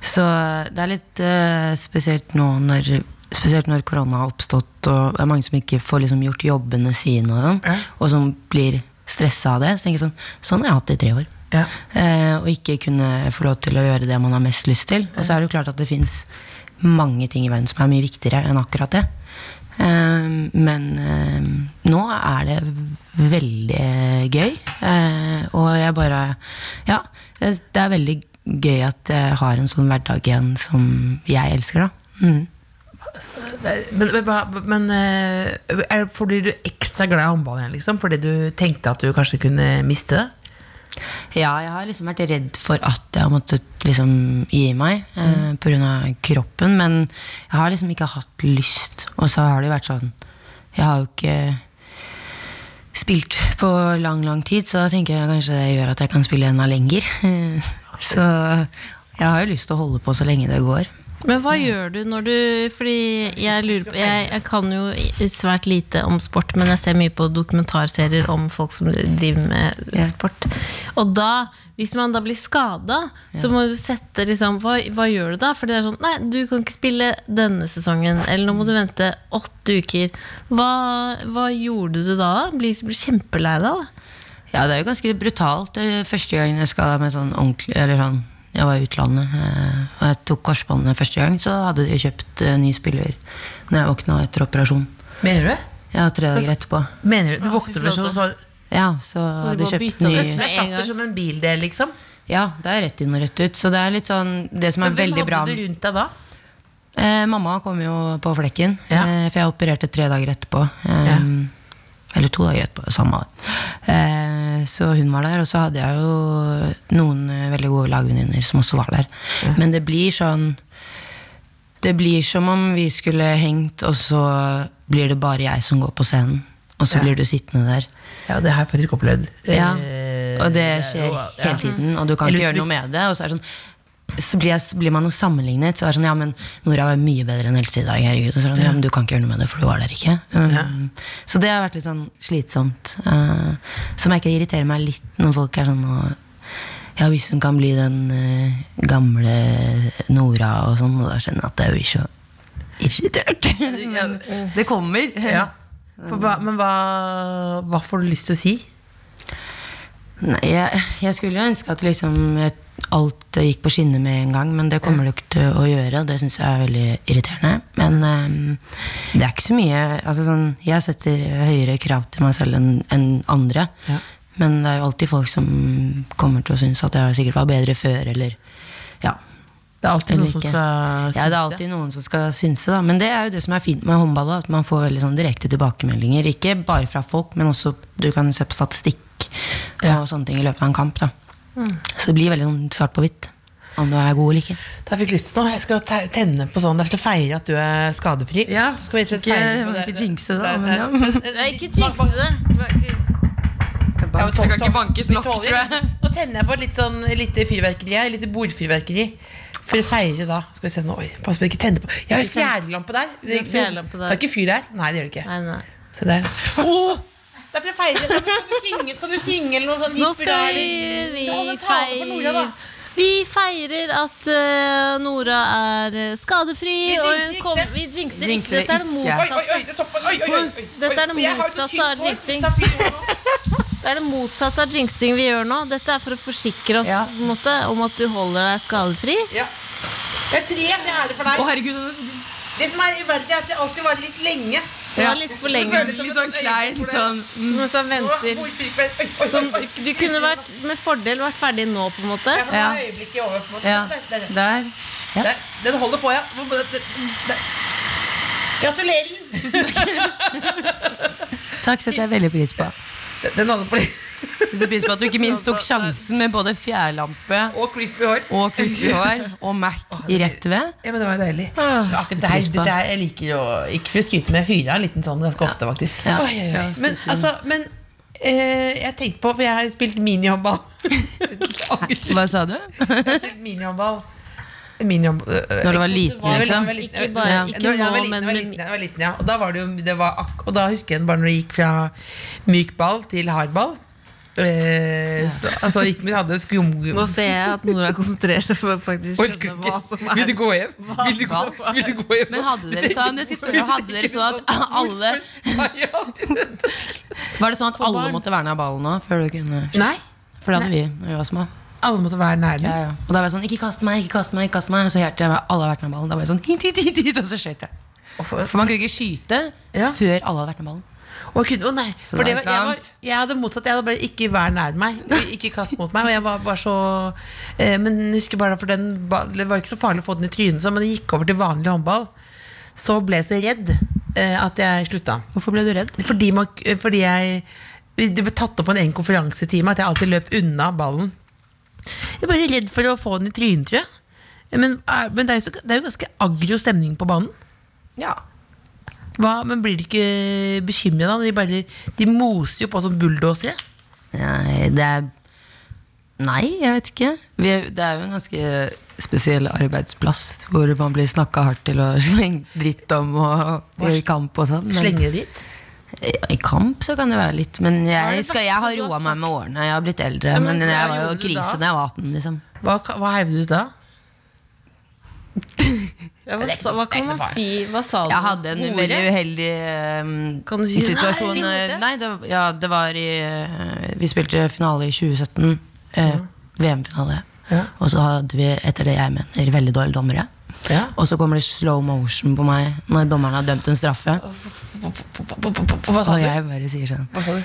så det er litt eh, spesielt nå når Spesielt når korona har oppstått og det er mange som ikke får liksom gjort jobbene sine, og sånn, og som blir stressa av det. Så tenker jeg sånn Sånn har jeg hatt det i tre år.
Ja.
Eh, og ikke kunne få lov til å gjøre det man har mest lyst til. Og så er det jo klart at det fins mange ting i verden som er mye viktigere enn akkurat det. Eh, men eh, nå er det veldig gøy. Eh, og jeg bare Ja, det det er veldig gøy at jeg har en sånn hverdag igjen som jeg elsker, da. Mm.
Men, men, men eh, er, for blir du ekstra glad i håndball igjen, liksom? Fordi du tenkte at du kanskje kunne miste det?
Ja, jeg har liksom vært redd for at jeg har måttet liksom gi meg eh, pga. kroppen. Men jeg har liksom ikke hatt lyst. Og så har det jo vært sånn Jeg har jo ikke spilt på lang, lang tid, så da tenker jeg kanskje det gjør at jeg kan spille enda lenger. (laughs) Så jeg har jo lyst til å holde på så lenge det går.
Men hva gjør du når du Fordi jeg lurer på jeg, jeg kan jo i- svært lite om sport, men jeg ser mye på dokumentarserier om folk som driver med sport. Og da, hvis man da blir skada, så må du sette liksom hva, hva gjør du da? For det er sånn Nei, du kan ikke spille denne sesongen. Eller nå må du vente åtte uker. Hva, hva gjorde du da? Blir, blir kjempelei deg, da?
Ja, det er jo ganske brutalt. Det er Første gangen jeg skada meg sånn ordentlig Eller sånn, jeg var i utlandet, eh, og jeg tok korsbåndet første gang, så hadde de kjøpt eh, ny spiller når jeg våkna etter operasjon.
Mener du det?
Ja, tre dager etterpå.
Mener du? Du våkner med sånn så-
Ja, så
bare
hadde de kjøpt
bytta
ny
det?
Du erstatter som en bildel, liksom.
Ja, det er rett inn og rett ut. Så det er litt sånn Det som er
Men hvem
veldig bra
hadde du rundt deg da?
Eh, mamma kom jo på flekken,
Ja.
eh, for jeg opererte tre dager etterpå. Eh, Eller to dager etterpå, samme det. Eh, så hun var der, og så hadde jeg jo noen eh, veldig gode lagvenninner som også var der. Men det blir sånn Det blir som om vi skulle hengt, og så blir det bare jeg som går på scenen. Og så blir du sittende der.
Ja, det har jeg faktisk opplevd.
Ja,
Eh,
og
er
det skjer
jo- ja.
hele tiden, og du kan ikke
Eller hvis
gjøre noe med det. Og så er det sånn så blir, jeg, blir man jo sammenlignet. Så er det sånn, ja, men Nora var mye bedre enn Else i dag. herregud. Og så er det sånn, ja, men du kan ikke gjøre noe med det, for du var der ikke. Um, Så det har vært litt sånn slitsomt. Uh, så merker jeg irriterer meg litt når folk er sånn og, Ja, hvis hun kan bli den eh, gamle Nora og sånn, og da skjønner jeg at jeg blir så irritert. (laughs) men det (laughs) kommer.
Ja. For hva, men hva, hva får du lyst til å si?
Nei, jeg, jeg skulle jo ønske at liksom eh, alt eh, gikk på skinner med en gang, men det kommer det jo ikke til å gjøre, og det syns jeg er veldig irriterende. Men eh, det er ikke så mye altså sånn, Jeg setter høyere krav til meg selv enn enn andre. Men det er jo alltid folk som kommer til å synes at jeg sikkert var bedre før, eller ja.
Det er alltid
Eller
noen som
ikke.
skal
Ja, det er
synes
alltid noen som skal synse, da. Men det er jo det som er fint med håndball, da, at man får veldig sånn direkte tilbakemeldinger. Ikke bare fra folk, men også du kan se på statistikk og sånne ting i løpet av en kamp. da.
Mm.
Så det blir veldig sånn svart på hvitt om du er god eller ikke.
Da fikk jeg lyst til noe. Jeg skal te- tenne på sånn. Det er til å feire at du er skadefri.
Ja,
Så skal vi rett og slett
ikke-
feire
må
det.
ikke jinxe det, da,
Nei,
men
(laughs) nei.
ja.
Ikke jinx det.
Ja, men tål-
Jeg kan ikke
tål-
bankes
vi
nok,
tåler.
tror jeg.
Nå tenner jeg på et litt sånn lite fyrverkeri her. Lite bordfyrverkeri. For å feire da. Skal vi se nå. Oi, pass på at jeg ikke tenner på. Jeg har jo fjærlampe der. Det er,
Du har fjærlampe der.
det er ikke fyr der. Nei, det gjør det ikke.
Nei, nei.
Se der. Åh! Det er for å feire. Da Kan du synge, kan du synge eller noe sånn sånt?
Nå skal vi,
Hipp hurra, eller-
vi
Ja, men ta det for Nora,
feire
da.
Vi feirer at eh, Nora er eh, skadefri.
Vi
og
jinxer
hun
ikke.
kom, vi jinxer ikke.
Jinxer
Dette er det
ikke.
Oi, oi,
motsatte,
oi, det er så, oi, oi, oi, oi.
Dette er det
Jeg har jo så
motsatte
tynt
av
hår.
jinxing.
Ta fyr på nå.
det er det motsatte av jinxing vi gjør nå. Dette er for å forsikre oss
Ja.
på en måte, om at du holder deg skadefri.
Ja. Det er tre, det er det for deg. Det som er uverdig, er at det alltid varer litt lenge.
Det var litt for lenge.
Føles som et sånt øyeblikk hvor det-
Som en sånn
Åh,
venter.
hvor fikk jeg- oi, oi,
Som,
oi, oi.
Sånn, du kunne vært, med fordel vært ferdig nå, på en måte.
Ja, for nå er øyeblikket over, på en måte.
Ja.
Der, der, der.
Der. Ja.
Der. Den holder på, ja. Hvor- der, der, der. Gratulerer!
Takk setter jeg veldig pris på.
Den- Den holder på litt.
Setter pris på At du ikke minst tok sjansen med både fjærlampe
Og crispy hår.
og crispy hår og Mac i rett ved. Ah,
Ja, men det var jo deilig.
Åh,
Ja, det her, det her, jeg liker jo ikke for å skryte med fyra en liten sånn ganske ofte, faktisk.
Ja.
Oi, oi, oi.
Ja,
Men altså, men eh, jeg tenkte på, for jeg har spilt minihåndball. (laughs)
Hva sa du?
minihåndball. Minihåndball. øh,
Når du var
Det
liten,
var vel-
liksom?
Jeg var liten,
Ikke bare-
ja.
ikke
Da jeg var
nå,
liten,
men-
jeg var liten, jeg var liten, ja. Og da, var det jo, det var ak og da husker jeg bare når det gikk fra myk ball til hard ball. Eh, så, altså gikk vi hadde skum...
Nå ser jeg at Nora konsentrerer seg for å faktisk
Oi,
skjønne
skulle-
hva som
Vil
er
du gå hjem? Vil du gå, vil du gå hjem?
Men hadde dere sånn, jeg skal spørre, hadde dere sånn at alle
Nei, jeg hadde-
(laughs) Var det sånn at alle måtte være nær ballen nå? Før du kunne
Nei,
For det hadde vi når vi var små.
alle måtte være nær den.
Ja, ja. Og da var jeg sånn Ikke kast meg, ikke kast meg, ikke kast meg. Og så hørte jeg alle har vært nær ballen. Da var jeg sånn hit, hit, hit, hit, Og så skjøt jeg.
Og for-
For man kunne ikke skyte
Ja.
før alle hadde vært nær ballen.
Og jeg kunne, å nei, for det
det
var,
er
jeg, var,
sant.
jeg hadde motsatt. Jeg hadde bare ikke vær nær meg. Ikke kast mot meg. Og jeg var bare så eh, Men jeg husker bare for den ba- Det var ikke så farlig å få den i trynet, så, men det gikk over til vanlig håndball. Så ble jeg så redd eh, at jeg slutta.
Hvorfor ble du redd?
Fordi, man, eh, fordi jeg Det ble tatt opp på en egen konferansetime at jeg alltid løp unna ballen. Jeg er bare redd for å få den i trynet, tror jeg. Men, eh, men det, er jo så, det er jo ganske aggro stemning på banen.
Ja.
Hva, men blir de ikke bekymret da? De, bare, de moser jo på som bulldosere.
Nei, det er Nei, jeg vet ikke. Vi er, det er jo en ganske spesiell arbeidsplass hvor man blir snakka hardt til og slengt dritt om og i kamp og sånn. men-
Slenger de dit?
I kamp så kan det være litt, men
er
jeg,
det
skal, jeg har
verste du har
roa meg med årene. Jeg har blitt eldre,
men
men,
hva
jeg var jo
gjorde du da?
krise da jeg var 18. liksom
Hva, hva heiv du ut da?
Ja, hva, sa- hva kan man si? Hva sa du?
Jeg hadde en
Ordet?
veldig uheldig ehm,
Kan du si,
situasjon.
"Nei, vi
eh,
måtte."
Nei, det, ja, det var i eh, Vi spilte finale i 2017. eh, VM-finale.
Ja.
Og så hadde vi, etter det jeg mener, veldig dårlige dommere.
Ja.
Og så kommer det slow motion på meg når dommeren har dømt en straffe.
Hva sa
Og
du?
jeg bare sier sånn
Hva sa du?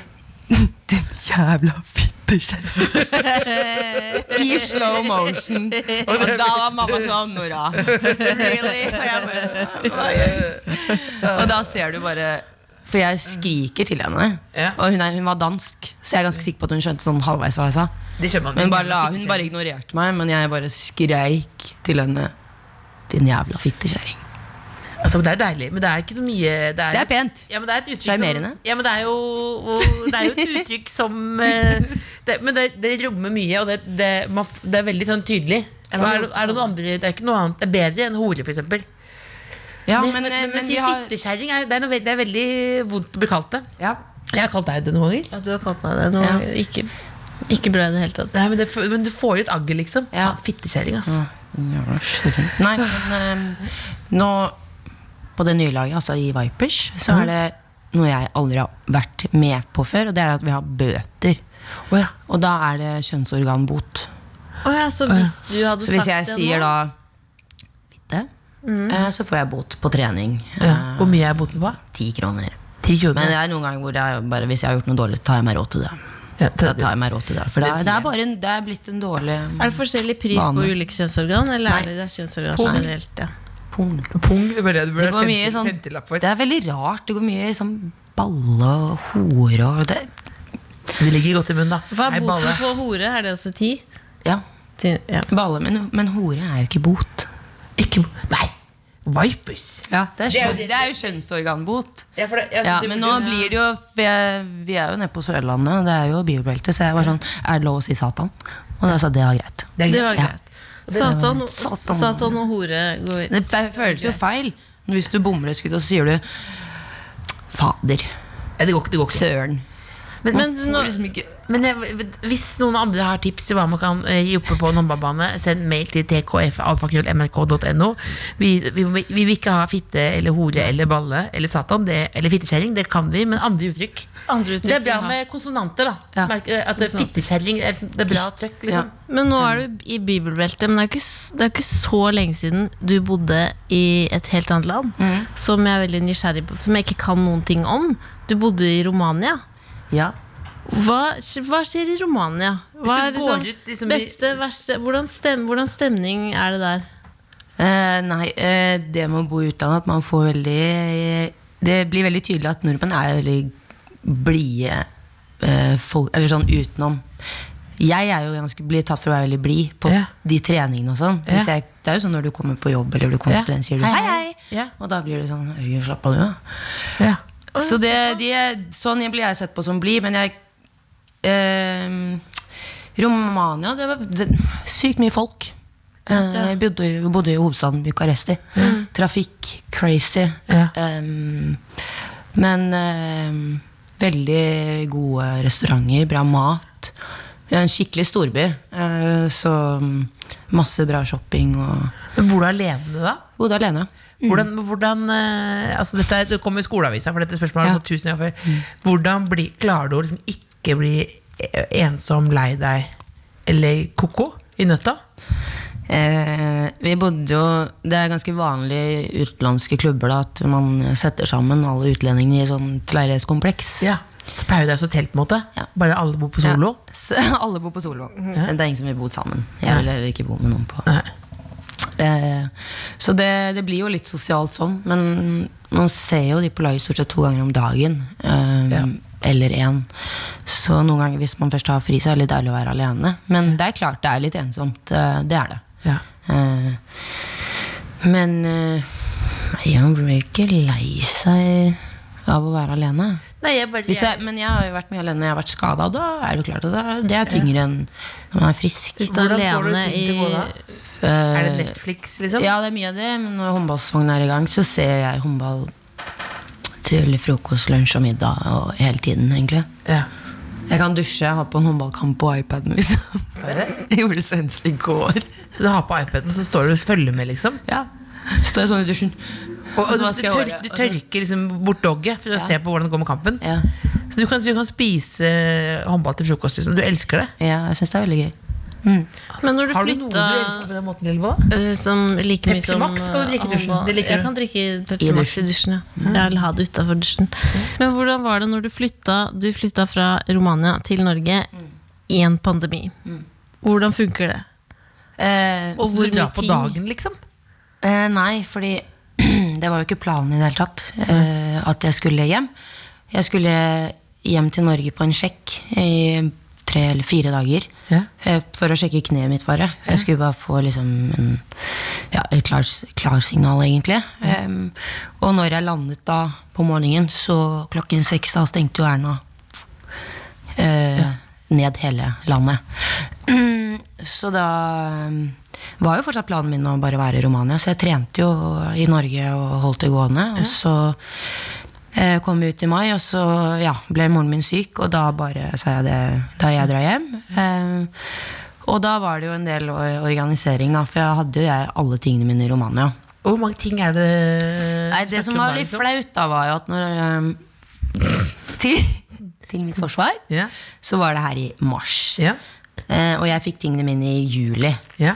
Din jævla fittekjerring! I slow motion. Og da var mamma sånn Nora. Really? Og jeg bare, «Hva gjøres?» Og da ser du bare For jeg skriker til henne.
Ja.
Og hun, er, hun var dansk, så jeg er ganske sikker på at hun skjønte sånn halvveis hva jeg sa.
Det skjønner man.
Men bare la, hun bare ignorerte meg, men jeg bare skreik til henne. Din jævla fittekjerring.
Altså, det er deilig, men det er ikke så mye Det er,
Det er pent.
Ja, men det er et uttrykk som,
Sjarmerende.
ja, men det er, jo, det er jo et uttrykk som eh, det, Men det, det rommer mye, og det, det, man, det er veldig sånn tydelig. Er det, er det noe andre Det er ikke noe annet Det er bedre enn hore, f.eks. Men,
Ja, men, eh,
men, eh, men,
men
å
vi
si
har
fittekjerring er, det er, noe, ve- det er veldig vondt å bli kalt det.
ja.
Jeg har kalt deg det noen ganger.
Ja, du har kalt meg det. Nå, ikke, ikke bra i det hele tatt.
Nei, men, det, men du får jo et agger, liksom. Ja.
Ja.
Fittekjerring, altså.
Nei, men eh, nå På det nye laget, altså i Vipers, så er det noe jeg aldri har vært med på før, og det er at vi har bøter.
Å ja.
Og da er det kjønnsorganbot.
Å ja, så hvis du hadde
Så hvis
sagt
jeg
det
sier
nå, Mm.
da fitte, eh, så får jeg bot på trening. eh,
ja. Hvor mye er boten på?
Ti kroner.
Ti
Men
kroner?
det er noen ganger hvor jeg bare, hvis jeg har gjort noe dårlig, tar jeg meg råd til det.
Ja,
Da
så-
tar jeg meg råd til det. For det er, det er, bare en, det er blitt en dårlig
Er det forskjellig pris
Vane.
på ulike kjønnsorgan, eller er det det er kjønnsorgan
Pung.
generelt? Ja.
pung.
Pung, det var det du burde
Det går mye sånn Det er veldig rart. Det går mye sånn balle og hore og det,
Det ligger godt i munnen, da.
Hva
Nei,
er
balle.
boten på hore? Er det også ti?
Ja.
Ti- Ja.
Balle, men, men hore er jo ikke bot.
Ikke Nei! Vipers.
det, er
er jo
skjønn-
det-
det er jo kjønnsorganbot.
Ja, for det- altså,
Ja,
det
men nå
burde-
blir det jo Vi er, vi er jo nede på Sørlandet, og det er jo bilbelte, så jeg var sånn Er det lov å si Satan? Og da sa jeg, det var greit.
er
Det var
greit.
greit. Satan,
Satan.
satan og hore går
Det fe- føles jo feil hvis du bommer et skudd, og så sier du Fader.
Ja, det går ikke. Det går ikke.
Søren.
Men, men,
Man får
nå,
liksom ikke-
men jeg, hvis noen andre har tips til hva man kan eh, gi oppe på en håndballbane, send mail til tkfalfakrøllmrk.no. Vi, vi, vi vil ikke ha fitte eller hore eller balle eller satan det, eller fittekjerring. Det kan vi, men andre uttrykk.
Andre
Det er
uttrykk.
bra med konsonanter, da.
Ja.
Merk- eh, At det er fittekjerring er- Det er bra trøkk, liksom.
Men nå er du i bibelbeltet, men det er jo ikke, s- det er jo ikke så lenge siden du bodde i et helt annet land, som jeg er veldig nysgjerrig på, som jeg ikke kan noen ting om. Du bodde i Romania.
Ja.
Hva, hva skjer i Romania? Hva
Hvis
er
du
liksom,
går ut, liksom, i-
beste, verste hvordan, stem, hvordan stemning er det der?
Eh, nei, eh, det med å bo i utlandet, at man får veldig Det blir veldig tydelig at nordmenn er veldig blide eh, folk, eller sånn utenom. Jeg er jo ganske blir tatt for å være veldig blid på
Ja.
de treningene og sånn. Hvis jeg, det er jo sånn når du kommer på jobb eller du kommer
Ja.
til trening, sier du
Hei,
hei,
hei.
hei.
Ja.
Og da blir du sånn Herregud, slapp av, du, da.
Ja.
Så det, de, sånn blir jeg sett på som blid, men jeg eh, Romania Det var det, sykt mye folk. Eh, jeg bodde, jo- bodde i hovedstaden Bucuresti. Trafikk, crazy.
Ja.
Ehm, men ehm, veldig gode restauranter, bra mat. Det er En skikkelig storby. eh, så mm, masse bra shopping og
Men bor du alene, da?
Bodde alene.
Hvordan, hvordan eh, altså dette, er- Det kommer i skoleavisa, for dette spørsmålet har jeg
Ja.
fått tusen ganger før. Hvordan bli, klarer du å liksom ikke bli eh, ensom, lei deg eller ko-ko i nøtta?
Eh, vi bodde jo Det er ganske vanlig i utenlandske klubber da, at man setter sammen alle utlendingene i sånn leilighetskompleks.
Ja. Så pleier det å telt, på en måte.
Ja.
Bare alle bor på solo. Mhm.
Ja. Så Alle bor på solo. Det er ingen som vil bo sammen. Jeg vil heller ikke bo med noen på
Nei.
Eh, Så det, det blir jo litt sosialt sånn, men man ser jo de på laget stort sett to ganger om dagen. eh,
Ja.
Eller én. Så noen ganger hvis man først har fri, så er det litt deilig å være alene. Men det er klart det er litt ensomt. eh, Det er det.
Ja.
Eh, Men eh, nei, Nei, han blir ikke lei seg av å være alene.
Nei, jeg bare
Hvis jeg, men jeg har jo vært mye alene når jeg har vært skada, og da er det jo klart at det er- det er tyngre enn når man er frisk.
Sitte
Hvordan får du
alene
tid
i
til å gå da? Er det Netflix, liksom?
Ja, det er mye av det, men når håndballsesongen er i gang, så ser jeg håndball til frokost, lunsj og middag og hele tiden, egentlig.
Ja.
Jeg kan dusje, ha på en håndballkamp på iPaden, liksom. (laughs) Jeg gjorde det senest i går.
Så du har på iPaden, så står du og følger med, liksom?
Ja. Står jeg sånn i dusjen.
Og, og
Og så
du,
hva skal jeg
tør,
gjøre?
du
Og så-
tørker liksom bort dogget for å se på hvordan det går med kampen.
Ja.
Så du kan, du kan spise eh, håndball til frokost. Liksom. Du elsker det.
ja, jeg syns det er veldig gøy.
Men når du
Har du noe du
flytta
elsker på den måten, Lillebo?
eh, som like mye
Pepsi
som
Max skal du drikke i dusjen.
håndball-
Det liker
jeg
du.
kan drikke Pepsi
I
Max i dusjen, ja. Jeg vil ha det utafor dusjen. Men hvordan var det når du flytta Du flytta fra Romania til Norge i en pandemi?
Mm.
Hvordan funker det?
Eh,
Og hvor
Du
mye
drar på
ting
dagen, liksom?
Eh, nei, fordi (clears throat) det var jo ikke planen i det hele tatt eh, at jeg skulle hjem. Jeg skulle hjem til Norge på en sjekk i tre eller fire dager.
Ja.
eh, For å sjekke kneet mitt, bare. Jeg skulle bare få liksom en, ja, et klars, klarsignal, egentlig. Em, og når jeg landet da på morgenen, så klokken seks da stengte jo Erna eh, ned hele landet. Mm, så da um, var jo fortsatt planen min å bare være i Romania, så jeg trente jo i Norge og holdt det gående. Og så eh, kom vi ut i mai, og så ja, ble moren min syk, og da bare sa jeg det da jeg drar hjem. Eh, og da var det jo en del or- organisering, da, for jeg hadde jo jeg alle tingene mine i Romania.
Og hvor mange ting er det
Nei,
du
det
snakker
som
om
var
da,
litt
liksom?
flaut, da, var jo at når eh, til, til mitt forsvar,
Ja.
så var det her i mars.
Ja.
Eh, og jeg fikk tingene mine i juli.
Ja.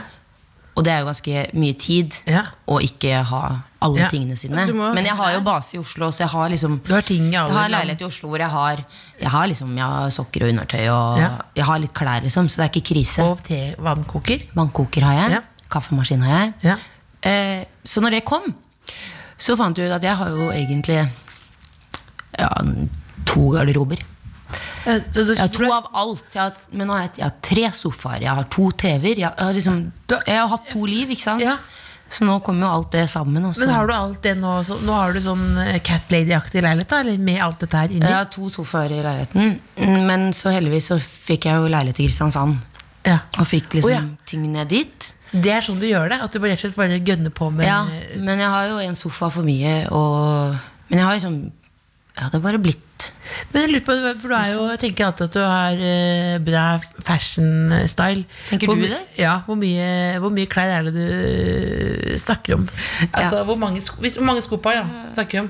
Og det er jo ganske mye tid
Ja.
å ikke ha alle
Ja.
tingene sine.
Du må jo
Men jeg har jo base i Oslo, så jeg har liksom
Du har ting i alle
jeg har
land.
leilighet i Oslo hvor jeg har, jeg har liksom, jeg har sokker og undertøy og
Ja.
jeg har litt klær, liksom, så det er ikke krise.
Og te-vannkoker?
Vannkoker har jeg.
Ja.
Kaffemaskin har jeg.
Ja.
Eh, så når det kom, så fant jeg ut at jeg har jo egentlig ja, to garderober.
Så du,
Jeg har to av alt. Jeg har, men nå har jeg, jeg har tre sofaer, jeg har to TV-er. Jeg, har- jeg, har liksom, jeg har hatt to liv, ikke sant?
Ja.
Så nå kommer jo alt det sammen. Også.
men har du alt det nå også? Nå har du sånn eh, Cat Lady-aktig leilighet, da? Eller med alt dette her inni?
Jeg har to sofaer i leiligheten, men så heldigvis så fikk jeg jo leilighet i Kristiansand.
Ja.
Og fikk liksom
Å, ja.
ting ned dit.
Så Det er sånn du gjør det? At du bare, rett og slett bare gønner på med eh,
ja, men jeg har jo en sofa for mye, og Men jeg har liksom Ja, det har bare blitt
Men jeg lurer på, for du er jo, jeg tenker alltid at du har eh, bra fashion style.
Tenker
Hvor
du
my-
det?
Ja, hvor mye, hvor mye klær er det du eh, snakker om? Altså, hvor mange, sko, hvis, hvor mange skopar ja, snakker vi om?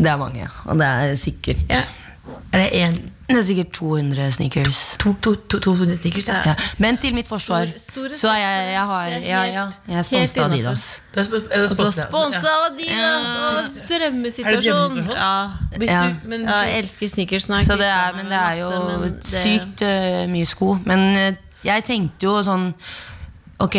Det er mange, og det er sikkert
Ja. Er det én,
Det er sikkert 200 sneakers.
to, to, to, to, to sneakers? Ja.
Ja. Men til mitt forsvar så er jeg, jeg, har, ja, ja, jeg er sponset av Adidas.
Du er sp- er det sponset, altså,
Sponsa av Adidas! og Drømmesituasjon!
drømmesituasjon?
Ja.
ja. Hvis
Ja.
du- men-
ja, jeg elsker sneakers. nå har jeg
Så det
kvittet
er,
meg
men
med
det er jo
masse, men det-
sykt øh, mye sko. Men øh, jeg tenkte jo sånn Ok,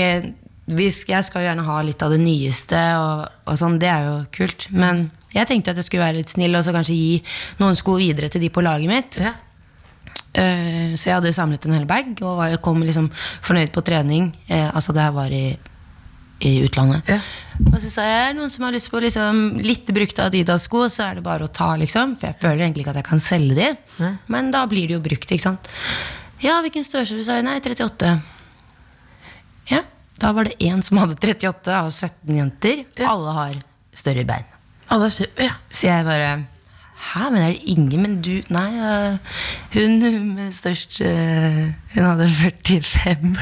vi sk- jeg skal jo gjerne ha litt av det nyeste, og, og sånn, det er jo kult. Men jeg tenkte at jeg skulle være litt snill og så kanskje gi noen sko videre til de på laget mitt.
ja.
Eh, så jeg hadde samlet en hel bag og var, kom liksom fornøyd på trening. Eh, altså det her var i, i utlandet.
Ja.
Og så sa jeg noen som har lyst på liksom, litt brukte Adidas-sko, så er det bare å ta, liksom. For jeg føler egentlig ikke at jeg kan selge de. Men da blir de jo brukt, ikke sant. Ja, hvilken størrelse? sa jeg. Nei, 38. Ja, da var det én som hadde 38 av 17 jenter. Alle har større bein.
Alle er skjø- ja.
Så jeg bare Hæ, men er det ingen? Men du Nei, øh, hun med størst øh, Hun hadde 45.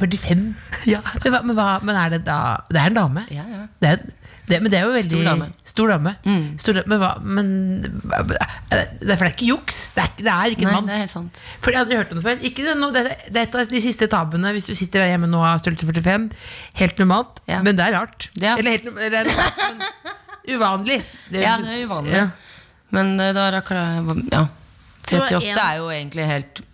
45?
Ja.
Men, hva, men, hva, men er det da Det er en dame?
Ja, ja.
Det er, en- det, men det er jo veldig
Stor dame. Mm.
Stor dame. Stor dame, men hva men, det, er- For det er ikke juks. Det er, ikke- det er ikke en
Nei,
mann.
det er helt sant.
For jeg hadde hørt om det før. Ikke det, nå, det, det er et av de siste tabuene hvis du sitter der hjemme nå og har størrelse 45. Helt normalt,
Ja.
men det er rart.
Ja.
Eller helt norm- eller, men uvanlig. Det,
Ja, det er uvanlig.
Ja.
Men øh, da rakk jeg Ja.
Så det var
38
en-
er jo egentlig helt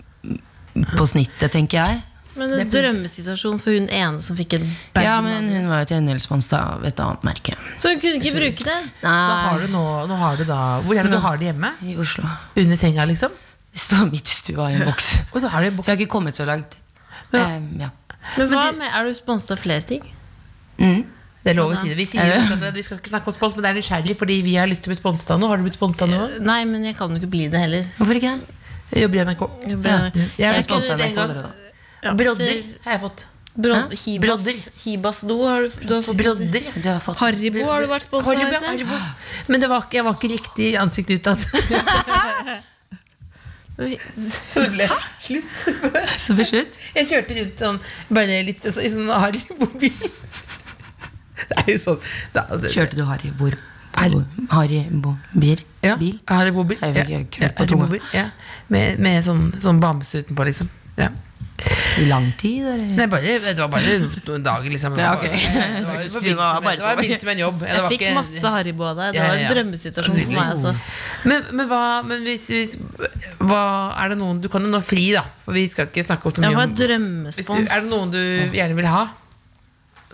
på snittet, tenker jeg.
Men en drømmesituasjon for hun ene som fikk en bag.
Ja, men hun var jo til hendelsespunkt av et annet merke.
Så hun kunne ikke bruke det.
Da har du nå, nå har du da Hvor er det du har det hjemme?
I Oslo.
Under senga, liksom?
Det står midt i stua i en boks.
Og du har det i
For jeg
boks.
har ikke kommet så langt.
Ja.
Ehm, ja.
Men hva med, Er du sponset av flere ting?
Mm.
Det er lov å si det. Vi sier jo fortsatt at vi skal ikke snakke om spons, men det er nysgjerrig fordi vi har lyst til å bli sponset av noe. Har du blitt sponset av noe?
Eh, Nei, men jeg kan jo ikke bli det heller.
Hvorfor ikke?
Jeg jobber i NRK.
Jobber i NRK.
Ja. Jeg
Jeg
er
er
sponset av
ikke
NRK allerede. Brodder har jeg fått.
Brod
Hæ?
Hibas,
Brodder.
Hibas do har du, du har fått
Brodder.
Du har fått
Haribo har du vært sponset
Har du
av,
bra
Øystein?
arvo? Men det var ikke, jeg var ikke riktig i ansiktet utad. Det ble slutt.
så beslutt.
Jeg kjørte rundt sånn, bare litt altså, i sånn Haribo-bil. Det er jo sånn da, altså,
Kjørte du Haribor?
Har-
Haribo-bir?
ja,
Bil?
Haribo-bil.
Jeg vil ikke
Ja,
krølle på tunga.
Haribo-bil, ja. Med, med sånn, sånn bamse utenpå, liksom. Ja.
I lang tid, eller?
Nei, bare, det var bare noen dager, liksom.
Ja, ok.
Det var- det var- det var
Synes det var bare
ment- det var ment som en jobb. Det
Jeg
var
fikk
ikke-
masse Haribo av deg. Det
Ja,
var
ja,
en
ja.
drømmesituasjon for meg. Altså.
Men, men, hva, men hvis, hvis hva, Er det noen Du kan jo nå fri, da. For vi skal ikke snakke om så
Det
mye
var
om Hvis du,
drømmespons.
er det noen du gjerne vil ha,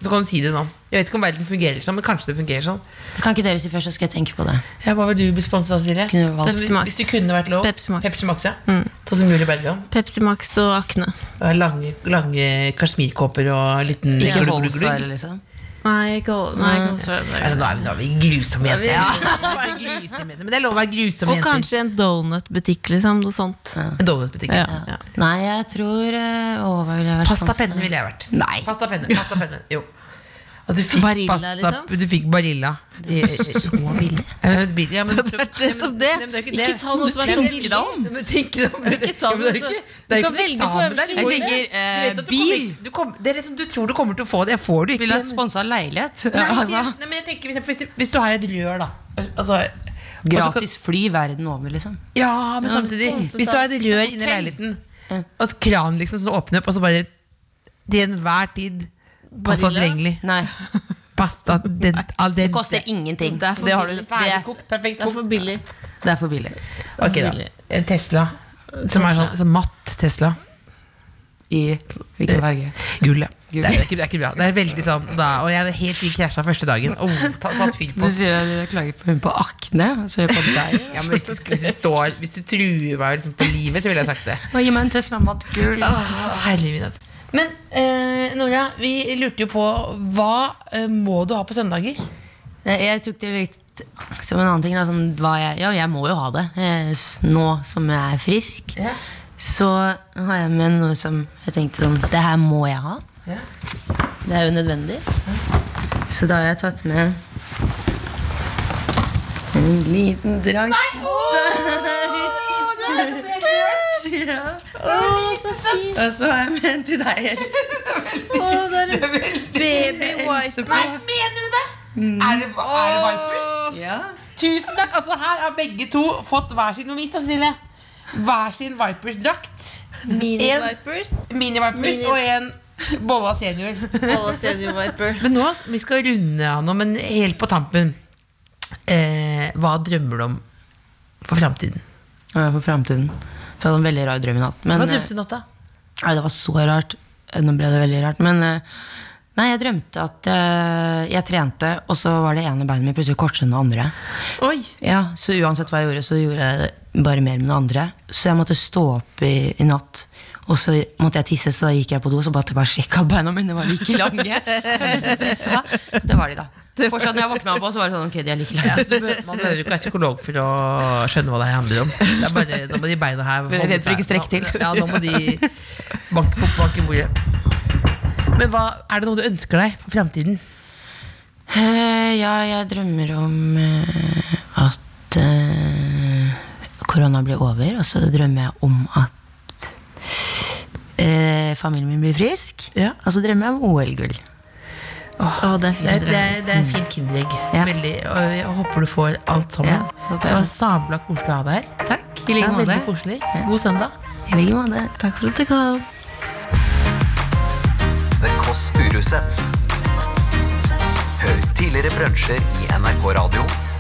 så kan du si det nå. Jeg vet ikke om verden fungerer sånn, men kanskje det fungerer sånn.
Kan ikke dere si først, så skal jeg tenke på det.
Ja, hva vil du bli sponset av, Silje?
Kunne valgt Mm.
Hvis-
Max.
Hvis du kunne vært lov.
Pepsi Max.
ja. Sånn som Julie Bergan.
Pepsi Max og Akne.
Og Lange, lange kasjmirkåper og liten
Ikke
glugg, glugg, glugg.
Holsa, eller liksom?
Nei, ikke all- nei, ikke all- sorry,
Altså, nå, er
sorry.
vi, nå er vi grusomme jenter. Vi er grusomme jenter, Men det er lov å være grusomme
Og
jenter.
kanskje en donutbutikk, liksom. Noe sånt.
En donutbutikk.
Ja.
Ja.
Nei, jeg tror eh, Å, hva ville jeg vært
Pasta
sponset?
penne ville jeg vært.
Nei.
Pasta penne, pasta penne, jo At du fikk
Barilla,
pasta,
liksom?
Du fikk Barilla. I,
Så billig.
Eh, billig, (laughs) ja, men
Det er nettopp det.
Nei, men er
Ikke ta noe som er
Nei,
så
men-
billig.
Nei, men tenk deg om.
Ikke ta
Ja, (laughs) men det er
noe
ikke- det
som-
er jo ikke
Du kan
en
velge på
eksamen
øverste
der.
hylle.
Du vet
Jeg
at
tenker,
du
eh,
kommer-
bil.
Du, kom, det er liksom, du tror du kommer til å få det, jeg får det jo
Ville
ikke.
jeg sponsa leilighet?
Nei,
Ja,
det-
altså.
nei, men jeg tenker, hvis- hvis, hvis du har et rør, da altså, og så kan-
Gratis fly verden over, liksom.
Ja, men samtidig. Hvis du har et rør inni leiligheten, og et kran liksom som du åpner opp, og så bare til enhver tid Pasta
Barilla?
tilgjengelig.
Nei.
Pasta den, al
Det koster ingenting.
Det er for
Det, har du,
billig.
det, er-
Ferdigkokt, perfekt
Det er for
kokt.
billig.
det er for billig.
Ok, da. En Tesla. Som er sånn, sånn matt Tesla.
I hvilken farge?
Gull, ja. Det
Gull.
er, ikke, det er ikke bra. Det er veldig sånn da, Og jeg er helt vill krasja første dagen. Oh, ta, satt fyr på
Du sier at du klager på hun på akne, og så gjør jeg på deg.
ja, men hvis, du, hvis, du står, hvis du truer meg liksom, på livet, så ville jeg sagt det.
Og gi meg en Tesla Matgull.
Åh, herre min hatt. Ah, Men eh, Nora, vi lurte jo på hva eh, må du ha på søndager?
Nei, Eh, Jeg tok det litt som en annen ting. Da, som hva jeg, ja, jeg må jo ha det eh, s- nå som jeg er frisk.
Ja.
Så har jeg med noe som jeg tenkte sånn Det her må jeg ha.
Ja.
Det er jo nødvendig. Så da har jeg tatt med en liten drakt. (laughs) Nei! Åh, det er søtt! Ja. Åh, så fint. Og så har jeg med en til deg, Else.
Nei, mener du det? Er, det, er det Vipers?
Ja.
Tusen takk. Altså, her har begge to fått hver sin novis, da, Silje. Hver sin Vipers-drakt.
Mini-vipers.
Mini-Vipers
Mini-
og en Bolla senior.
Alle senior-viper.
Men nå, vi skal runde av nå, men helt på tampen. Eh, hva drømmer du om for framtiden?
Ja, for framtiden. For jeg hadde en veldig rar drøm i natt. Men,
Hva drømte du nå, da?
eh, Nei, det var så rart. Nå ble det veldig rart. Men eh, nei, jeg drømte at eh, jeg trente, og så var det ene beinet mitt plutselig kortere enn det andre.
Oi.
Ja, Så uansett hva jeg gjorde, så gjorde jeg det bare mer med det andre. Så jeg måtte stå opp i, i natt. Og så måtte jeg tisse, så da gikk jeg på do og så bare, bare sjekka at (laughs) beina mine var like lange. Jeg ble så stressa. Det var de, da. Fortsatt når jeg våkna opp, og så var det sånn, ok, de er like lange.
Ja, så du behøver, man behøver jo ikke være psykolog for å skjønne hva det her handler om. Det er bare, Nå må de beina her
Dere er redd for ikke strekk til.
Ja, nå må de banke på banke i bordet. Men hva, er det noe du ønsker deg for framtiden?
Eh, ja, jeg drømmer om eh, at eh, korona blir over, og så drømmer jeg om at eh, familien min blir frisk.
Ja.
Og så drømmer jeg om OL-gull.
Å, det er
Det,
fint.
det, er- det er fint kinderegg.
Ja.
Veldig, og jeg håper du får alt sammen.
Ja, håper jeg.
det var sabla koselig å ha deg her.
Takk. I
Ja,
like
veldig
måte.
koselig. God søndag.
I like måte.
Takk for at du kom.
The Kåss Furuseths. Hør tidligere brunsjer i NRK Radio